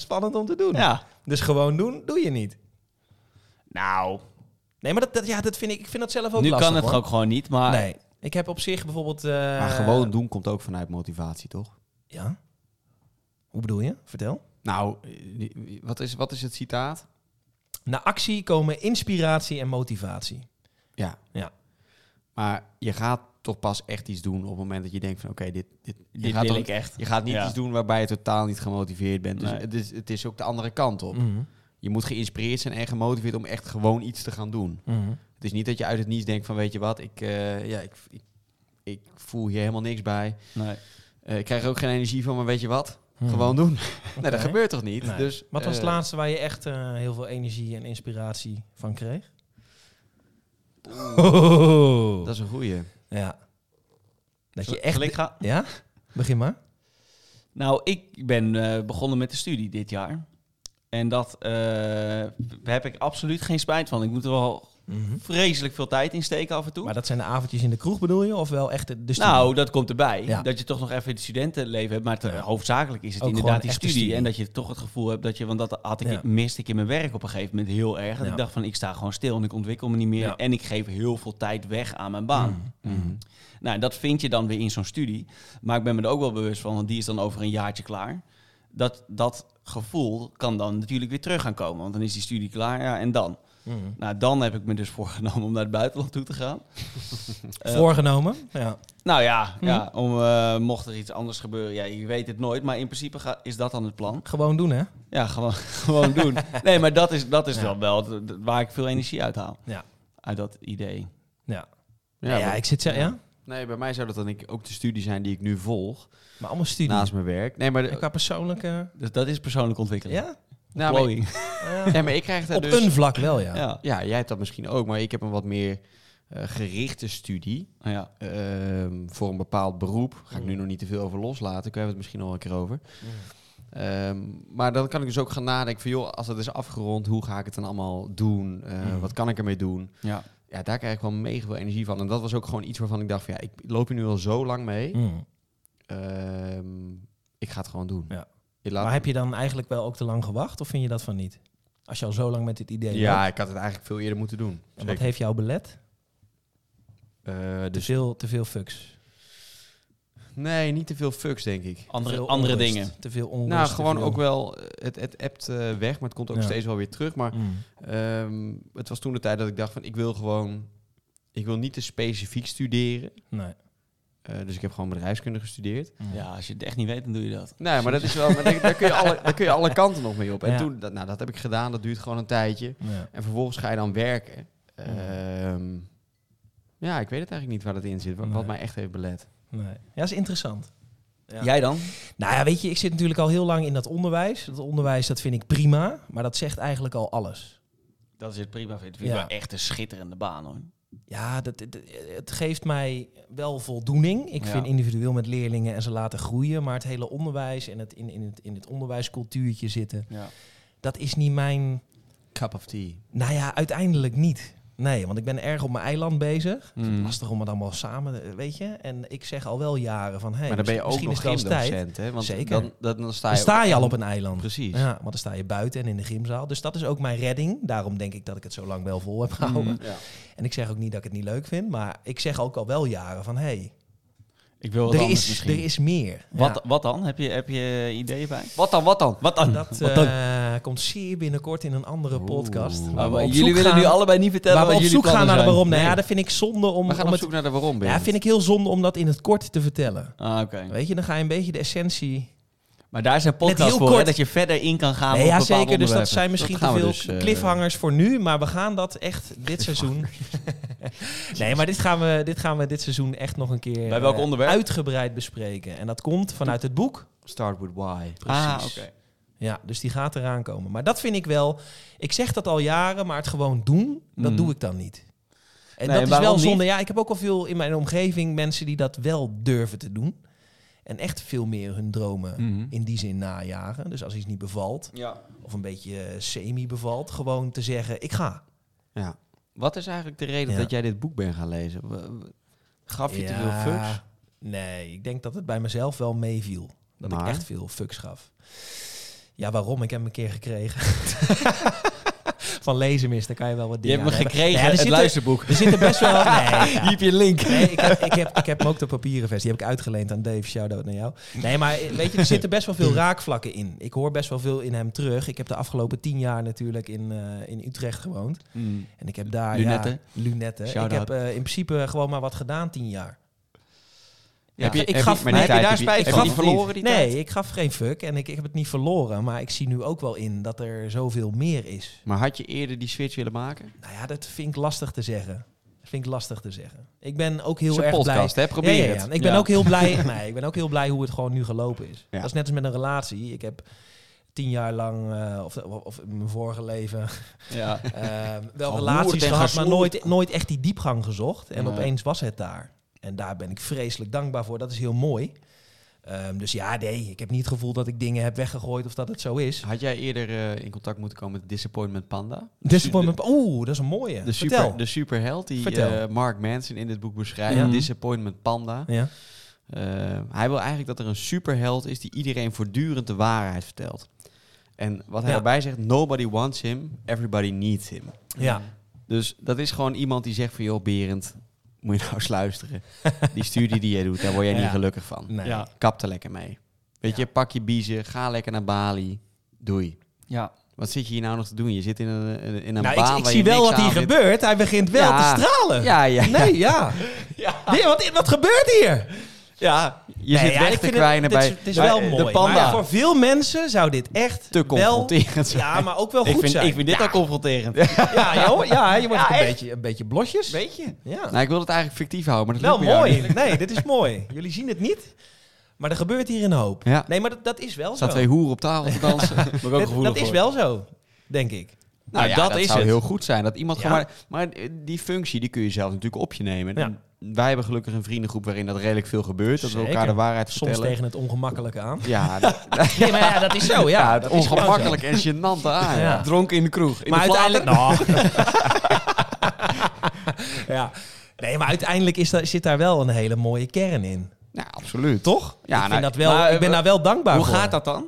A: [laughs] spannend om te doen.
B: Ja.
A: Dus gewoon doen, doe je niet.
B: Nou,
A: Nee, maar dat, dat, ja, dat vind ik, ik vind dat zelf ook
B: nu
A: lastig.
B: kan het
A: hoor.
B: ook gewoon niet, maar
A: Nee, ik heb op zich bijvoorbeeld... eh,
C: Maar gewoon doen komt ook vanuit motivatie, toch?
A: Ja. Hoe bedoel je? Vertel.
C: Nou, eh, wat is, wat is het citaat?
A: Na actie komen inspiratie en motivatie.
C: Ja.
A: Ja.
C: Maar je gaat toch pas echt iets doen op het moment dat je denkt van oké, dit, dit, je
B: dit
C: gaat
B: wil
C: toch-
B: ik echt.
C: Je gaat niet
B: Ja.
C: iets doen waarbij je totaal niet gemotiveerd bent. Dus
B: Nee.
C: het, is, het is ook de andere kant op.
A: Mhm.
C: Je moet geïnspireerd zijn en gemotiveerd om echt gewoon iets te gaan doen.
A: Mhm.
C: Het is niet dat je uit het niets denkt van weet je wat, ik, eh, ja, ik, ik, ik voel hier helemaal niks bij.
B: Nee.
C: Eh, ik krijg er ook geen energie van, maar weet je wat?
A: Mhm.
C: Gewoon doen. [laughs] nee,
A: Oké.
C: dat gebeurt toch niet?
A: Nee.
C: Dus,
A: Wat was het
C: eh,
A: laatste waar je echt eh, heel veel energie en inspiratie van kreeg?
C: Dat is een goeie.
A: Ja. Dat
B: Zal-
A: je echt...
B: zal ik ga?
A: Ja? Begin maar.
B: Nou, ik ben eh, begonnen met de studie dit jaar. En dat eh, heb ik absoluut geen spijt van. Ik moet er wel
A: Mhm.
B: vreselijk veel tijd in steken af en toe.
A: Maar dat zijn de avondjes in de kroeg bedoel je? Of wel echt de, de studie?
B: nou, dat komt erbij.
A: Ja.
B: Dat je toch nog even het studentenleven hebt. Maar te-
A: Ja.
B: hoofdzakelijk is het
A: Ook
B: inderdaad
A: gewoon
B: die
A: echt de
B: studie.
A: studie.
B: En dat je toch het gevoel hebt dat je... Want dat had ik,
A: Ja.
B: miste ik in mijn werk op een gegeven moment heel erg. Dat
A: Ja.
B: ik dacht van, ik sta gewoon stil en ik ontwikkel me niet meer.
A: Ja.
B: En ik geef heel veel tijd weg aan mijn baan.
A: Mhm.
C: Mhm.
B: Nou, dat vind je dan weer in zo'n studie. Maar ik ben me er ook wel bewust van, want die is dan over een jaartje klaar. Dat, dat gevoel kan dan natuurlijk weer terug gaan komen. Want dan is die studie klaar, ja, en dan?
A: Mhm.
B: Nou, dan heb ik me dus [laughs] voorgenomen om naar het buitenland toe te gaan. Eh,
A: Voorgenomen. Ja.
B: nou ja, ja om, eh, mocht er iets anders gebeuren, ja, je weet het nooit. Maar in principe ga- is dat dan het plan.
A: Gewoon doen, hè?
B: Ja, gewoon, [laughs] gewoon doen. Nee, maar dat is, dat is
A: Ja.
B: wel wel d- d- waar ik veel energie uit haal.
A: Ja.
B: Uit dat idee.
A: Ja. Nou Ja,
C: Ja, maar-
A: ik zit... ze- Ja?
C: Nee, bij mij zou dat dan ik, ook de studie zijn die ik nu volg,
A: Maar allemaal studie.
C: naast mijn werk. Nee, maar, de-
A: En qua persoonlijke...
B: Dus dat is persoonlijk ontwikkeling.
A: Ja?
C: nou, maar,
B: Glowing.
A: Ja.
C: nee, maar ik krijg daar
A: Op
C: dus...
A: een vlak wel, ja.
B: Ja.
C: Ja, jij hebt dat misschien ook, maar ik heb een wat meer eh, gerichte studie
B: ja.
C: ehm, voor een bepaald beroep. Ga
A: Mm.
C: ik nu nog niet te veel over loslaten, ik heb het misschien nog wel een keer over.
A: Hmm.
C: Ehm, maar dan kan ik dus ook gaan nadenken van, joh, als dat is afgerond, hoe ga ik het dan allemaal doen? Eh,
A: Mhm.
C: Wat kan ik ermee doen?
B: ja.
C: Ja, daar krijg ik wel mega veel energie van. En dat was ook gewoon iets waarvan ik dacht van, ja, ik loop hier nu al zo lang mee.
A: Mhm.
C: Ehm, ik ga het gewoon doen.
A: Ja.
C: Ik laat-
A: Maar heb je dan eigenlijk wel ook te lang gewacht? Of vind je dat van niet? Als je al zo lang met dit idee loopt.
C: ja, ik had het eigenlijk veel eerder moeten doen.
A: En wat
C: Zeker.
A: heeft jou belet?
C: Eh,
A: Te
C: dus
A: veel, te veel fucks.
C: nee, niet te veel fucks, denk ik.
A: Te
B: Andere,
A: veel
B: andere
A: onrust,
B: dingen.
A: Te veel onrust.
C: nou,
A: te
C: gewoon
A: veel-
C: ook wel, eh, het, het appt eh, weg, maar het komt ook
A: Ja.
C: steeds wel weer terug. Maar
B: Hmm.
A: Mm.
C: ehm, het was toen de tijd dat ik dacht van, ik wil gewoon, ik wil niet te specifiek studeren.
A: Nee. Hmm.
C: Eh, dus ik heb gewoon bedrijfskunde gestudeerd.
A: Ja.
B: Ja, als je het echt niet weet, dan doe je dat.
C: Nee, maar dat is wel, maar daar, daar kun je alle, daar kun je alle kanten nog mee op. En
A: Ja.
C: toen, dat, nou, dat heb ik gedaan, dat duurt gewoon een tijdje.
A: Ja.
C: En vervolgens ga je dan werken. Ehm, ja, ik weet het eigenlijk niet waar dat in zit, wat, wat
A: Nee.
C: mij echt heeft belet.
A: Nee. ja, dat is interessant. Ja.
B: Jij dan?
A: Nou ja, weet je, ik zit natuurlijk al heel lang in dat onderwijs. Dat onderwijs, dat vind ik prima, maar dat zegt eigenlijk al alles.
B: Dat is het prima. Vind.
A: vind ik
B: ja.
A: wel
B: echt een schitterende baan hoor.
A: Ja, dat, dat- het geeft mij wel voldoening. Ik
B: Ja.
A: vind individueel met leerlingen en ze laten groeien, maar het hele onderwijs en het in, in, het, in het onderwijscultuurtje zitten,
B: Ja.
A: dat is niet mijn...
C: Cup of tea.
A: Nou ja, uiteindelijk niet. Nee, want ik ben erg op mijn eiland bezig.
B: Hmm.
A: Lastig om het allemaal samen, eh, weet je. En ik zeg al wel jaren van, hey,
C: maar dan ben je ook
A: misschien
C: nog
A: is het wel
C: geen
A: eens tijd.
C: docent, hè? Want
A: Zeker.
C: Dan, dan, dan sta je,
A: Dan sta je al op een eiland.
B: [laughs]
C: Precies.
A: Ja, want dan sta je buiten en in de gymzaal. Dus dat is ook mijn redding. Daarom denk ik dat ik het zo lang wel vol heb gehouden.
B: Mm.
C: Ja.
A: En ik zeg ook niet dat ik het niet leuk vind, maar ik zeg ook al wel jaren van... hé,
B: Ik wil wat
A: hey, er,
B: anders
A: is,
B: misschien.
A: er is meer.
B: Wat, wat dan? Heb je, heb je ideeën bij?
C: Wat dan, wat dan?
B: Wat
A: Ja.
B: dan?
A: Dat
B: Wat dan?
A: eh, komt zeer binnenkort in een andere
C: Oeh.
A: podcast.
C: Maar
A: waar we
B: maar
A: op
B: jullie
A: zoek
B: willen
A: gaan-
B: nu allebei niet vertellen
A: Waar we
B: wat
A: eh, op
B: jullie
A: zoek gaan
B: plannen
A: naar de
B: zijn.
A: waarom. Nou
C: Nee.
A: ja, dat vind ik zonde om,
C: We gaan
A: om
C: op
A: het...
C: zoek naar de waarom,
A: Ja, vind ik heel zonde om dat in het kort te vertellen.
B: Ah, oké.
A: Weet je, dan ga je een beetje de essentie
B: Maar daar zijn
A: Let
B: podcasts
A: heel
B: voor,
A: kort.
B: hè, dat je verder in kan gaan
A: Nee,
B: op
A: ja,
B: bepaalde
A: zeker. Dus dat
B: onderwerpen.
A: zijn misschien
C: gaan
A: te
C: we
A: veel
C: dus, eh,
A: cliffhangers voor nu. Maar we gaan dat echt dit seizoen... nee, maar dit gaan, we, dit gaan we dit seizoen echt nog een keer
B: Bij welk
A: eh,
B: onderwerp?
A: uitgebreid bespreken. En dat komt vanuit het boek.
C: Start with why.
B: Ah,
A: Precies.
B: oké.
A: Ja, dus die gaat eraan komen. Maar dat vind ik wel... Ik zeg dat al jaren, maar het gewoon doen, dat
B: Mm.
A: doe ik dan niet. En
B: Nee,
A: dat is
B: waarom
A: wel
B: niet?
A: zonde. Ja, ik heb ook al veel in mijn omgeving mensen die dat wel durven te doen. En echt veel meer hun dromen
B: Mhm.
A: in die zin najagen. Dus als iets niet bevalt,
B: Ja.
A: of een beetje eh, semi bevalt, gewoon te zeggen: ik ga.
C: Ja. Wat is eigenlijk de reden
A: Ja.
C: dat jij dit boek bent gaan lezen? W- w- Gaf je te veel
A: Ja,
C: fucks?
A: Nee, ik denk dat het bij mezelf wel meeviel. Dat
C: Maar?
A: ik echt veel fucks gaf. Ja, waarom? Ik heb hem een keer
B: [laughs]
A: gekregen. Van lezenmis, daar kan je wel wat
B: Je
A: dingen
B: hebt me
A: aan hebben.
B: gekregen,
A: Ja, er
B: het
A: zitten- [laughs]
B: luisterboek.
A: Er zitten best
B: [laughs]
A: wel... Nee, ja.
B: Hier heb je een link.
A: Nee, ik, heb, ik, heb, ik heb hem ook de papieren versie. Die heb ik uitgeleend aan Dave. Shout-out naar jou. Nee, maar eh, weet je, er zitten best wel veel raakvlakken in. Ik hoor best wel veel in hem terug. Ik heb de afgelopen tien jaar natuurlijk in, eh, in Utrecht gewoond.
B: Hmm.
A: En ik heb daar
B: Lunetten.
A: Ja, lunetten. Ik
B: Shout-out.
A: heb eh, in principe gewoon maar wat gedaan tien jaar.
C: Ja.
A: ik- ik
C: je-
A: gaf- maar
C: maar die
A: heb je
C: tijd
A: daar spijt
C: heb
A: van?
C: je die
B: Of niet?
C: verloren die tijd?
A: Nee, ik gaf geen fuck en ik, ik heb het niet verloren. Maar ik zie nu ook wel in dat er zoveel meer is.
C: Maar had je eerder die switch willen maken?
A: Nou ja, dat vind ik lastig te zeggen. Dat vind ik lastig te zeggen. Ik ben ook heel
C: Het is
A: erg
C: een
A: blij.
C: podcast, hè? Probeer
A: Ja, ja, ja.
C: het.
A: Ik ben
B: Ja.
A: ook heel
C: [laughs]
A: blij. nee, ik ben ook heel blij hoe het gewoon nu gelopen is.
C: Ja.
A: Dat is net als met een relatie. Ik heb tien jaar lang, eh, of, of in mijn vorige leven,
B: Ja.
A: eh, wel
C: Gehoerd
A: relaties
C: en
A: gehad, maar
C: gesnoerd.
A: nooit, nooit echt die diepgang gezocht. En
B: Nee.
A: opeens was het daar. En daar ben ik vreselijk dankbaar voor. Dat is heel mooi. Ehm, dus ja, nee, ik heb niet het gevoel dat ik dingen heb weggegooid of dat het zo is.
C: Had jij eerder eh, in contact moeten komen met Disappointment Panda?
A: Disappointment. Dus Oeh, dat is een mooie.
C: De,
A: Vertel.
C: super, de superheld die
A: Vertel.
C: eh, Mark Manson in dit boek beschrijft,
A: Ja.
C: Disappointment Panda.
A: Ja.
C: Eh, hij wil eigenlijk dat er een superheld is die iedereen voortdurend de waarheid vertelt. En wat hij
A: Ja.
C: erbij zegt, nobody wants him, everybody needs him.
A: ja.
C: Dus dat is gewoon iemand die zegt van, joh Berend, moet je nou eens luisteren. Die studie die jij doet, daar word jij
A: Ja.
C: niet gelukkig van.
A: Nee.
B: Ja.
C: Kap er lekker mee. Weet je, pak je biezen, ga lekker naar Bali, doei.
B: Ja.
C: Wat zit je hier nou nog te doen? Je zit in een, in een
A: Nou,
C: baan
A: ik, ik
C: waar
A: zie
C: je
A: wel
C: niks
A: wat hier
C: aan vindt.
A: gebeurt. Hij begint wel
C: Ja.
A: te stralen.
C: Ja, ja.
A: Nee, ja. Nee, wat, wat gebeurt hier?
B: Ja.
C: [laughs] Je
A: Nee,
C: zit
A: ja,
C: weg
A: ik
C: te
A: vind het-
C: kwijnen
A: het is-
C: bij
A: Het is wel
C: bij
A: mooi.
C: de panda.
A: Maar voor veel mensen zou dit echt
C: te
A: wel...
C: confronterend zijn.
A: Ja, maar ook wel
B: Ik
A: goed
B: vind,
A: zijn.
B: ik vind dit al confronterend.
A: Ja, joh, ja, je wordt
B: Ja,
A: ook een
B: echt.
A: beetje, een beetje blosjes.
B: Weet je?
A: Ja. Nou,
C: Nou, ik wil het eigenlijk fictief houden, maar dat
A: Wel
C: lukt me jou
A: mooi.
C: niet.
A: Nee, dit is mooi. Jullie zien het niet, maar er gebeurt hier een hoop.
C: Ja.
A: Nee, maar dat, dat is wel
C: Er
A: zo.
C: staan twee hoeren op tafel te
A: [laughs]
C: dansen. nou,
B: Moet ik ook
A: dat
B: gevoelig
A: dat is
B: voor.
A: wel zo, denk ik.
B: Nou, dat is
C: zou
B: het.
C: heel goed zijn. Dat iemand
A: Ja.
C: gewoon maar, maar eh, die functie die kun je zelf natuurlijk op je nemen.
A: Ja.
C: Wij hebben gelukkig een vriendengroep waarin dat redelijk veel gebeurt. Dat we
A: Zeker.
C: elkaar de waarheid
A: Soms
C: vertellen.
A: tegen het ongemakkelijke
B: [laughs]
A: aan. [laughs]
C: Ja, dat,
A: Nee, maar ja, dat is zo. Ja,
C: ja,
A: dat is gewoon zo.
C: ongemakkelijk en gênant aan.
A: Ja.
B: Dronken in de kroeg. In
A: maar
B: de Vlaanderen.
A: uiteindelijk.
B: [laughs]
A: Nou. ja. Nee, maar uiteindelijk is daar, zit daar wel een hele mooie kern in.
C: Ja, Nou, absoluut.
A: Toch?
C: Ja,
A: ik, vind
C: nou,
A: dat wel,
B: maar, eh,
A: ik ben daar wel dankbaar
B: Hoe
A: voor.
B: gaat dat dan?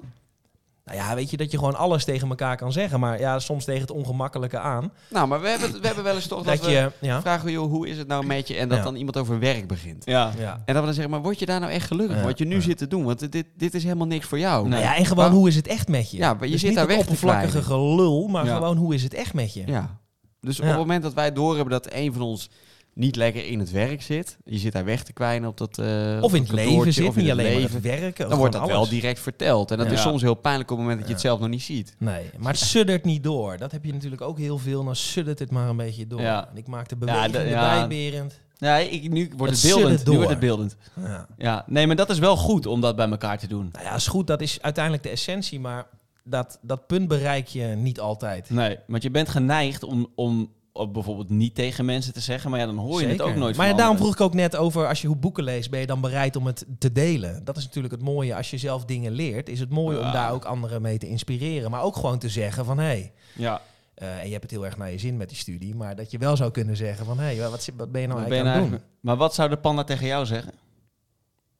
A: Nou ja, weet je dat je gewoon alles tegen elkaar kan zeggen. Maar ja, soms tegen het ongemakkelijke aan.
C: Nou, maar we hebben, we hebben wel eens toch
A: Dat,
C: dat, we
A: je. Ja,
C: vragen, joh, hoe is het nou met je? En dat
A: Ja.
C: dan iemand over werk begint.
B: Ja.
A: ja.
C: En dat we dan zeggen, maar word je daar nou echt gelukkig
A: Ja.
C: van? Wat je nu
A: Ja.
C: zit te doen, want dit, dit is helemaal niks voor jou.
B: Nee.
A: Nou ja, en gewoon
C: Maar-
A: hoe is het echt met je?
C: Ja, maar je
A: Dus
C: zit
A: niet
C: daar
A: het
C: weg te
A: oppervlakkige gelul, maar
B: Ja.
A: gewoon hoe is het echt met je?
C: Ja. Dus
A: Ja.
C: op het moment dat wij doorhebben dat een van ons niet lekker in het werk zit. Je zit daar weg te kwijnen op dat eh,
A: of in het
C: kantoortje,
A: leven zit,
C: of in
A: niet
C: het
A: alleen maar
C: leven.
A: het werken.
C: Dan wordt dat
A: gewoon
C: wel
A: alles.
C: direct verteld. En dat
A: Ja.
C: is soms heel pijnlijk op het moment dat je het
A: Ja.
C: zelf nog niet ziet.
A: Nee, maar het suddert niet door. Dat heb je natuurlijk ook heel veel. Dan suddert het maar een beetje door.
B: Ja.
A: En ik maak de beweging
B: dat- ja.
A: erbij, Berend.
B: Ja, ik, nu wordt
A: Het
B: het beeldend.
A: suddert
B: Nu
A: door.
B: wordt het beeldend.
A: Ja.
B: Ja, nee, maar dat is wel goed om dat bij elkaar te doen.
A: Nou ja, is goed. Dat is uiteindelijk de essentie. Maar dat, dat punt bereik je niet altijd.
B: Nee, want je bent geneigd om, om om bijvoorbeeld niet tegen mensen te zeggen, maar ja, dan hoor je het
A: Zeker.
B: ook nooit
A: Maar ja,
B: van
A: daarom vroeg
B: anderen.
A: ik ook net over, als je hoe boeken leest, ben je dan bereid om het te delen? Dat is natuurlijk het mooie. Als je zelf dingen leert, is het mooi om
B: Ja.
A: daar ook anderen mee te inspireren. Maar ook gewoon te zeggen van, hé, hey,
B: Ja,
A: eh, en je hebt het heel erg naar je zin met die studie, maar dat je wel zou kunnen zeggen van, hé, hey, wat, zit- wat ben je nou
B: wat ben
A: eigenlijk
B: je nou
A: aan het doen?
B: eigenlijk- Maar wat zou de panda tegen jou zeggen?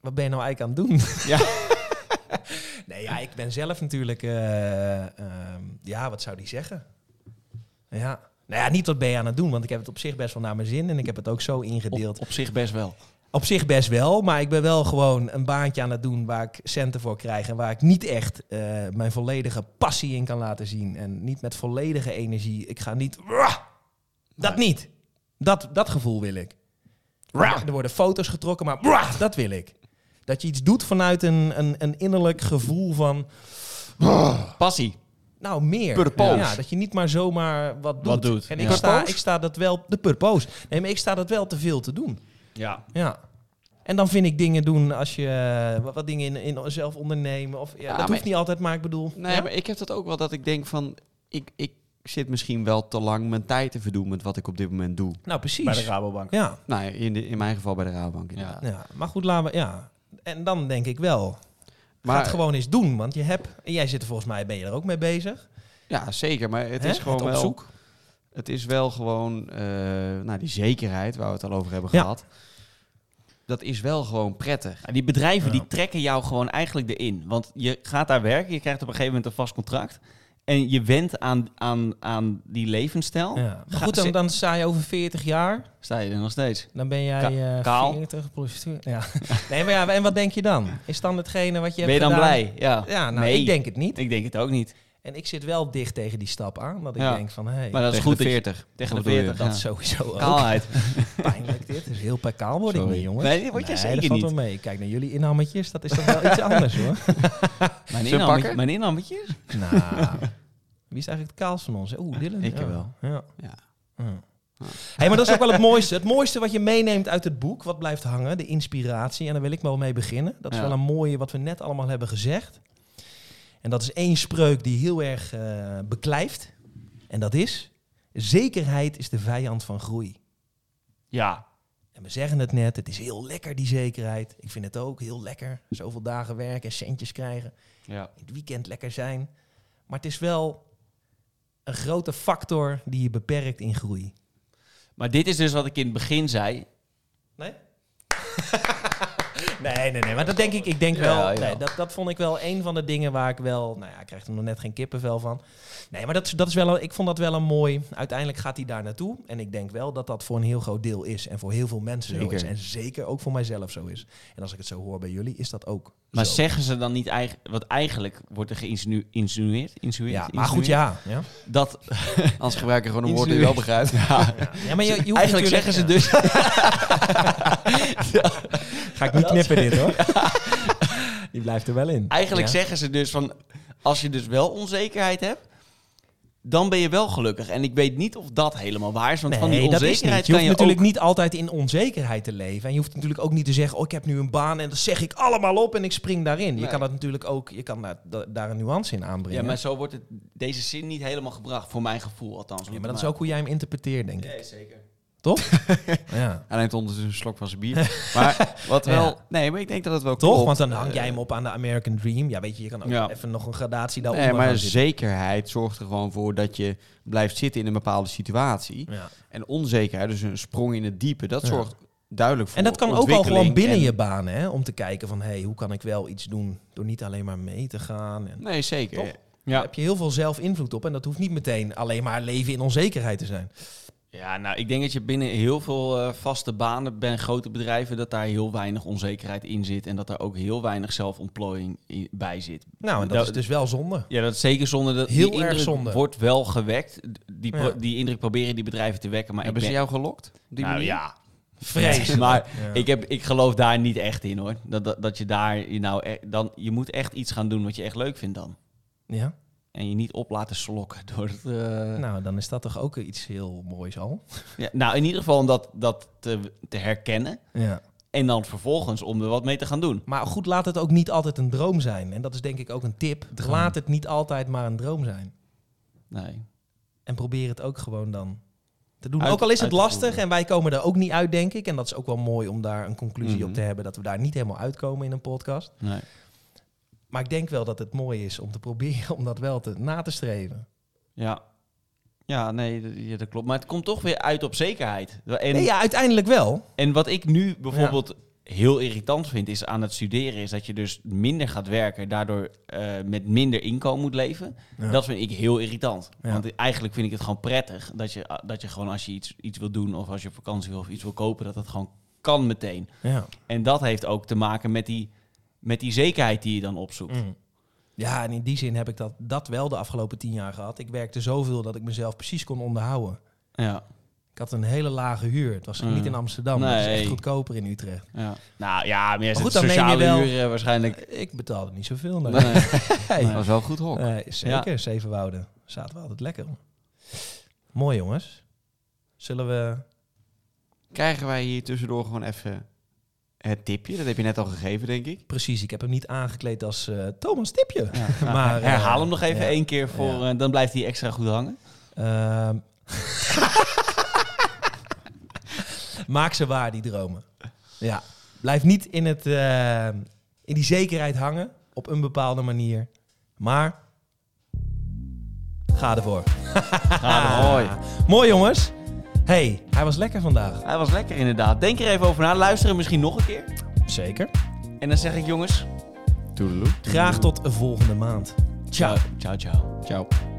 A: Wat ben je nou eigenlijk aan het doen?
B: Ja.
A: [laughs] nee, ja, ik ben zelf natuurlijk, eh, ehm, ja, wat zou die zeggen? Ja. Nou ja, niet wat ben je aan het doen, want ik heb het op zich best wel naar mijn zin en ik heb het ook zo ingedeeld.
B: Op, op zich best wel.
A: Op zich best wel, maar ik ben wel gewoon een baantje aan het doen waar ik centen voor krijg en waar ik niet echt eh, mijn volledige passie in kan laten zien. En niet met volledige energie. Ik ga niet. "Wah!" Dat niet. Dat, dat gevoel wil ik.
B: Wah!
A: Er worden foto's getrokken, maar "Wah!" dat wil ik. Dat je iets doet vanuit een, een, een innerlijk gevoel van.
B: Passie.
A: Nou, meer.
C: Purpose.
A: Ja, dat je niet maar zomaar wat doet.
B: Wat doet,
A: En
B: ja.
A: ik, sta,
C: Purpose?
A: ik sta dat wel. De purpose. Nee, maar ik sta dat wel te veel te doen.
B: Ja.
A: Ja. En dan vind ik dingen doen als je eh, wat, wat dingen in, in zelf ondernemen. Of, ja, dat
C: maar-
A: hoeft niet altijd, maar ik bedoel.
C: Nee,
A: ja?
C: maar ik heb dat ook wel dat ik denk van... Ik, ik zit misschien wel te lang mijn tijd te verdoen met wat ik op dit moment doe.
A: Nou, precies.
B: Bij de Rabobank.
A: ja.
C: Nou, ja, in, de- in mijn geval bij de Rabobank
B: Ja.
C: inderdaad.
A: ja, maar goed, laten we. Ja. En dan denk ik wel. Maar,
C: Maar-
A: Ga het gewoon eens doen, want je hebt. en Jij zit er volgens mij, ben je er ook mee bezig?
C: Ja, zeker. Maar het
A: Hè?
C: is gewoon
A: op
C: wel...
A: zoek.
C: Het is wel gewoon, eh, nou die zekerheid waar we het al over hebben
A: Ja.
C: gehad. Dat is wel gewoon prettig.
B: Ja, Die bedrijven
A: Ja.
B: die trekken jou gewoon eigenlijk erin. Want je gaat daar werken, je krijgt op een gegeven moment een vast contract. En je went aan, aan, aan die levensstijl.
A: Ja. Maar
B: Ga-
A: goed,
B: ze-
A: dan, dan sta je over 40 jaar.
B: Sta je er nog steeds?
A: Dan ben jij eh
B: kaal.
A: 40 plus. tu- Ja. [laughs] Nee, maar ja, en wat denk je dan? Is dan hetgene wat je
B: ben je
A: hebt
B: dan
A: gedaan-
B: blij? Ja.
A: Ja, nou,
B: Nee.
A: ik denk het niet.
B: Ik denk het ook niet.
A: En ik zit wel dicht tegen die stap aan, dat ik
B: Ja.
A: denk van, hé, hey,
B: Maar dat is
C: Tegen
B: goed
C: de
B: dat je-
C: 40.
B: tegen de
C: Wat bedoel je?
B: 40.
A: dat
B: ja.
A: sowieso ook. [laughs]
B: Kaalheid.
A: pijnlijk dit. Dus heel pekaal word ik
C: Sorry.
A: niet, jongen.
B: Nee, dat word je zeker
A: dat
B: niet.
A: valt wel mee. Ik Kijk naar jullie inhammetjes, dat is toch wel iets anders hoor.
B: Mijn
C: Zullen we
B: inhammetje-
C: pakken?
B: Mijn inhammetjes?
A: Nou, wie is eigenlijk het kaals van ons? Oeh, Dylan.
C: Ik
A: ja.
C: wel.
A: Ja.
C: Ja.
A: Ja. Hey, maar dat is ook wel het mooiste. Het mooiste wat je meeneemt uit het boek, wat blijft hangen, de inspiratie. En daar wil ik wel mee beginnen. Dat is
B: Ja.
A: wel een mooie wat we net allemaal hebben gezegd. En dat is één spreuk die heel erg eh, beklijft. En dat is, zekerheid is de vijand van groei.
B: Ja.
A: En we zeggen het net, het is heel lekker die zekerheid. Ik vind het ook heel lekker. Zoveel dagen werken, centjes krijgen,
B: ja.
A: in het weekend lekker zijn. Maar het is wel een grote factor die je beperkt in groei.
B: Maar dit is dus wat ik in het begin zei.
A: Nee? [laughs] nee, nee, nee. Maar dat denk ik, ik denk
B: Ja,
A: wel.
B: ja.
A: Nee, dat, dat vond ik wel een van de dingen waar ik wel. Nou ja, ik krijg er nog net geen kippenvel van. Nee, maar dat, is- dat is wel. een- Ik vond dat wel een mooi. Uiteindelijk gaat hij daar naartoe. En ik denk wel dat dat voor een heel groot deel is. En voor heel veel mensen
C: Zeker.
A: zo is. En zeker ook voor mijzelf zo is. En als ik het zo hoor bij jullie, is dat ook.
B: Maar
A: zo.
B: zeggen ze dan niet eigenlijk... Want eigenlijk wordt er geïnsinueerd... Insinueerd, insinueerd,
A: Ja, maar goed,
B: insinueerd,
A: ja. Ja,
B: [laughs] Dat,
C: Anders gebruik je gewoon een woord die je wel begrijpt.
A: [laughs]
B: [laughs]
A: ja maar je, je hoeft
B: eigenlijk
A: natuurlijk-
B: zeggen ze
A: ja.
B: dus...
A: Ga ik
B: [laughs]
A: niet knippen dit hoor. Die blijft er wel in.
B: Eigenlijk
A: Ja.
B: zeggen ze dus van, als je dus wel onzekerheid hebt, dan ben je wel gelukkig. En ik weet niet of dat helemaal waar is, want van die
A: Nee, dat is
B: onzekerheid
A: niet. Je hoeft
B: kan je
A: natuurlijk
B: ook...
A: niet altijd in onzekerheid te leven. En je hoeft natuurlijk ook niet te zeggen, oh, ik heb nu een baan en dat zeg ik allemaal op en ik spring daarin. Je
B: Nee.
A: kan dat natuurlijk ook, je kan daar, da- daar een nuance in aanbrengen.
B: Ja, maar zo wordt het, deze zin niet helemaal gebracht, voor mijn gevoel althans.
A: Ja, maar dat is ook hoe jij hem interpreteert, denk ik.
B: Nee, zeker.
A: Ja.
C: Hij neemt ondertussen een slok van zijn bier. maar wat wel... Nee, maar ik denk dat het wel
A: Toch?
C: klopt.
A: Want dan hang jij
C: Eh,
A: hem op aan de American Dream. Ja, weet je, je kan ook
B: Ja.
A: even nog een gradatie daaronder
C: Nee, maar
A: gaan zitten.
C: zekerheid zorgt er gewoon voor dat je blijft zitten in een bepaalde situatie.
A: Ja.
C: En onzekerheid, dus een sprong in het diepe, dat
A: Ja.
C: zorgt duidelijk voor
A: En dat kan ook wel gewoon
C: ontwikkeling
A: binnen
C: en-
A: je baan, hè? Om te kijken van, hé, hey, hoe kan ik wel iets doen door niet alleen maar mee te gaan. En
C: Nee, zeker.
A: Toch? Daar
B: Ja.
A: heb je heel veel zelf invloed op. En dat hoeft niet meteen alleen maar leven in onzekerheid te zijn.
B: ja, nou, ik denk dat je binnen heel veel eh, vaste banen, bij grote bedrijven, dat daar heel weinig onzekerheid in zit. En dat daar ook heel weinig zelfontplooiing in- bij zit.
A: Nou, en dat,
B: Dat-
A: is dus wel zonde.
B: Ja, dat is zeker zonde. Dat
A: Heel
B: die indruk
A: erg zonde.
B: wordt wel gewekt. Die, pro-
A: Ja.
B: die indruk proberen die bedrijven te wekken, maar ik
C: Hebben
B: ben-
C: ze jou gelokt? op die
B: nou
C: manier?
B: ja,
A: Vrees.
B: Maar
A: Ja.
B: ik, heb, ik geloof daar niet echt in hoor. Dat, dat, dat je daar je nou e- dan je moet echt iets gaan doen wat je echt leuk vindt dan.
A: ja?
B: En je niet op laten slokken door het. eh, nou.
A: Nou, dan is dat toch ook iets heel moois al.
B: Ja, nou, in ieder geval om dat, dat te, te herkennen.
A: Ja.
B: En dan vervolgens om er wat mee te gaan doen.
A: Maar goed, laat het ook niet altijd een droom zijn. En dat is denk ik ook een tip. Laat het niet altijd maar een droom zijn.
B: Nee.
A: En probeer het ook gewoon dan te doen.
B: Uit-
A: ook al is het
B: uit te
A: lastig
B: voeren.
A: en wij komen er ook niet uit, denk ik. En dat is ook wel mooi om daar een conclusie
C: Mhm.
A: op te hebben. Dat we daar niet helemaal uitkomen in een podcast.
B: nee.
A: Maar ik denk wel dat het mooi is om te proberen [laughs] om dat wel te, na te streven.
B: Ja. Ja, nee, d- ja, dat klopt. Maar het komt toch weer uit op zekerheid. En,
A: Nee, ja, uiteindelijk wel.
B: en wat ik nu bijvoorbeeld heel irritant vind is aan het studeren, is dat je dus minder gaat werken, daardoor eh, met minder inkomen moet leven.
A: Ja.
B: Dat vind ik heel irritant.
A: Ja.
B: Want eigenlijk vind ik het gewoon prettig dat je, ah, dat je gewoon als je iets, iets wil doen of als je op vakantie wil of iets wil kopen, dat dat gewoon kan meteen.
A: Ja.
B: En dat heeft ook te maken met die, met die zekerheid die je dan opzoekt.
A: Mm. Ja, en in die zin heb ik dat, dat wel de afgelopen tien jaar gehad. Ik werkte zoveel dat ik mezelf precies kon onderhouden.
B: Ja,
A: Ik had een hele lage huur. Het was
B: Mm.
A: niet in Amsterdam, maar het is echt
B: Nee.
A: goedkoper in Utrecht.
B: ja. Nou ja, meer
A: goed,
B: goed,
A: dan neem je
B: sociale
A: wel-
B: huren waarschijnlijk. eh,
A: Ik betaalde niet zoveel. nee.
B: Nee.
A: [laughs] Nee.
C: Dat was wel een goed hok.
A: Nee, zeker, Zevenwouden. Zaten we altijd lekker. Mooi jongens. Zullen we...
C: Krijgen wij hier tussendoor gewoon even het tipje? Dat heb je net al gegeven, denk ik.
A: Precies, ik heb hem niet aangekleed als eh, Thomas Tipje.
B: Nou,
A: [laughs] Maar, eh,
B: herhaal hem nog even
A: ja.
B: één keer voor,
A: Ja.
B: eh, dan blijft hij extra goed hangen.
A: Ehm. [laughs] Maak ze waar, die dromen. Ja. Blijf niet in, het, eh, in die zekerheid hangen op een bepaalde manier. Maar ga ervoor.
B: Ga
A: [laughs]
B: er- Hoi.
A: Mooi jongens. hey, hij was lekker vandaag.
B: Hij was lekker inderdaad. Denk er even over na. Luister hem misschien nog een keer.
A: Zeker.
B: En dan zeg ik jongens,
C: Toedeloe.
A: Graag tot volgende maand. Ciao.
B: eh, ciao ciao.
C: Ciao.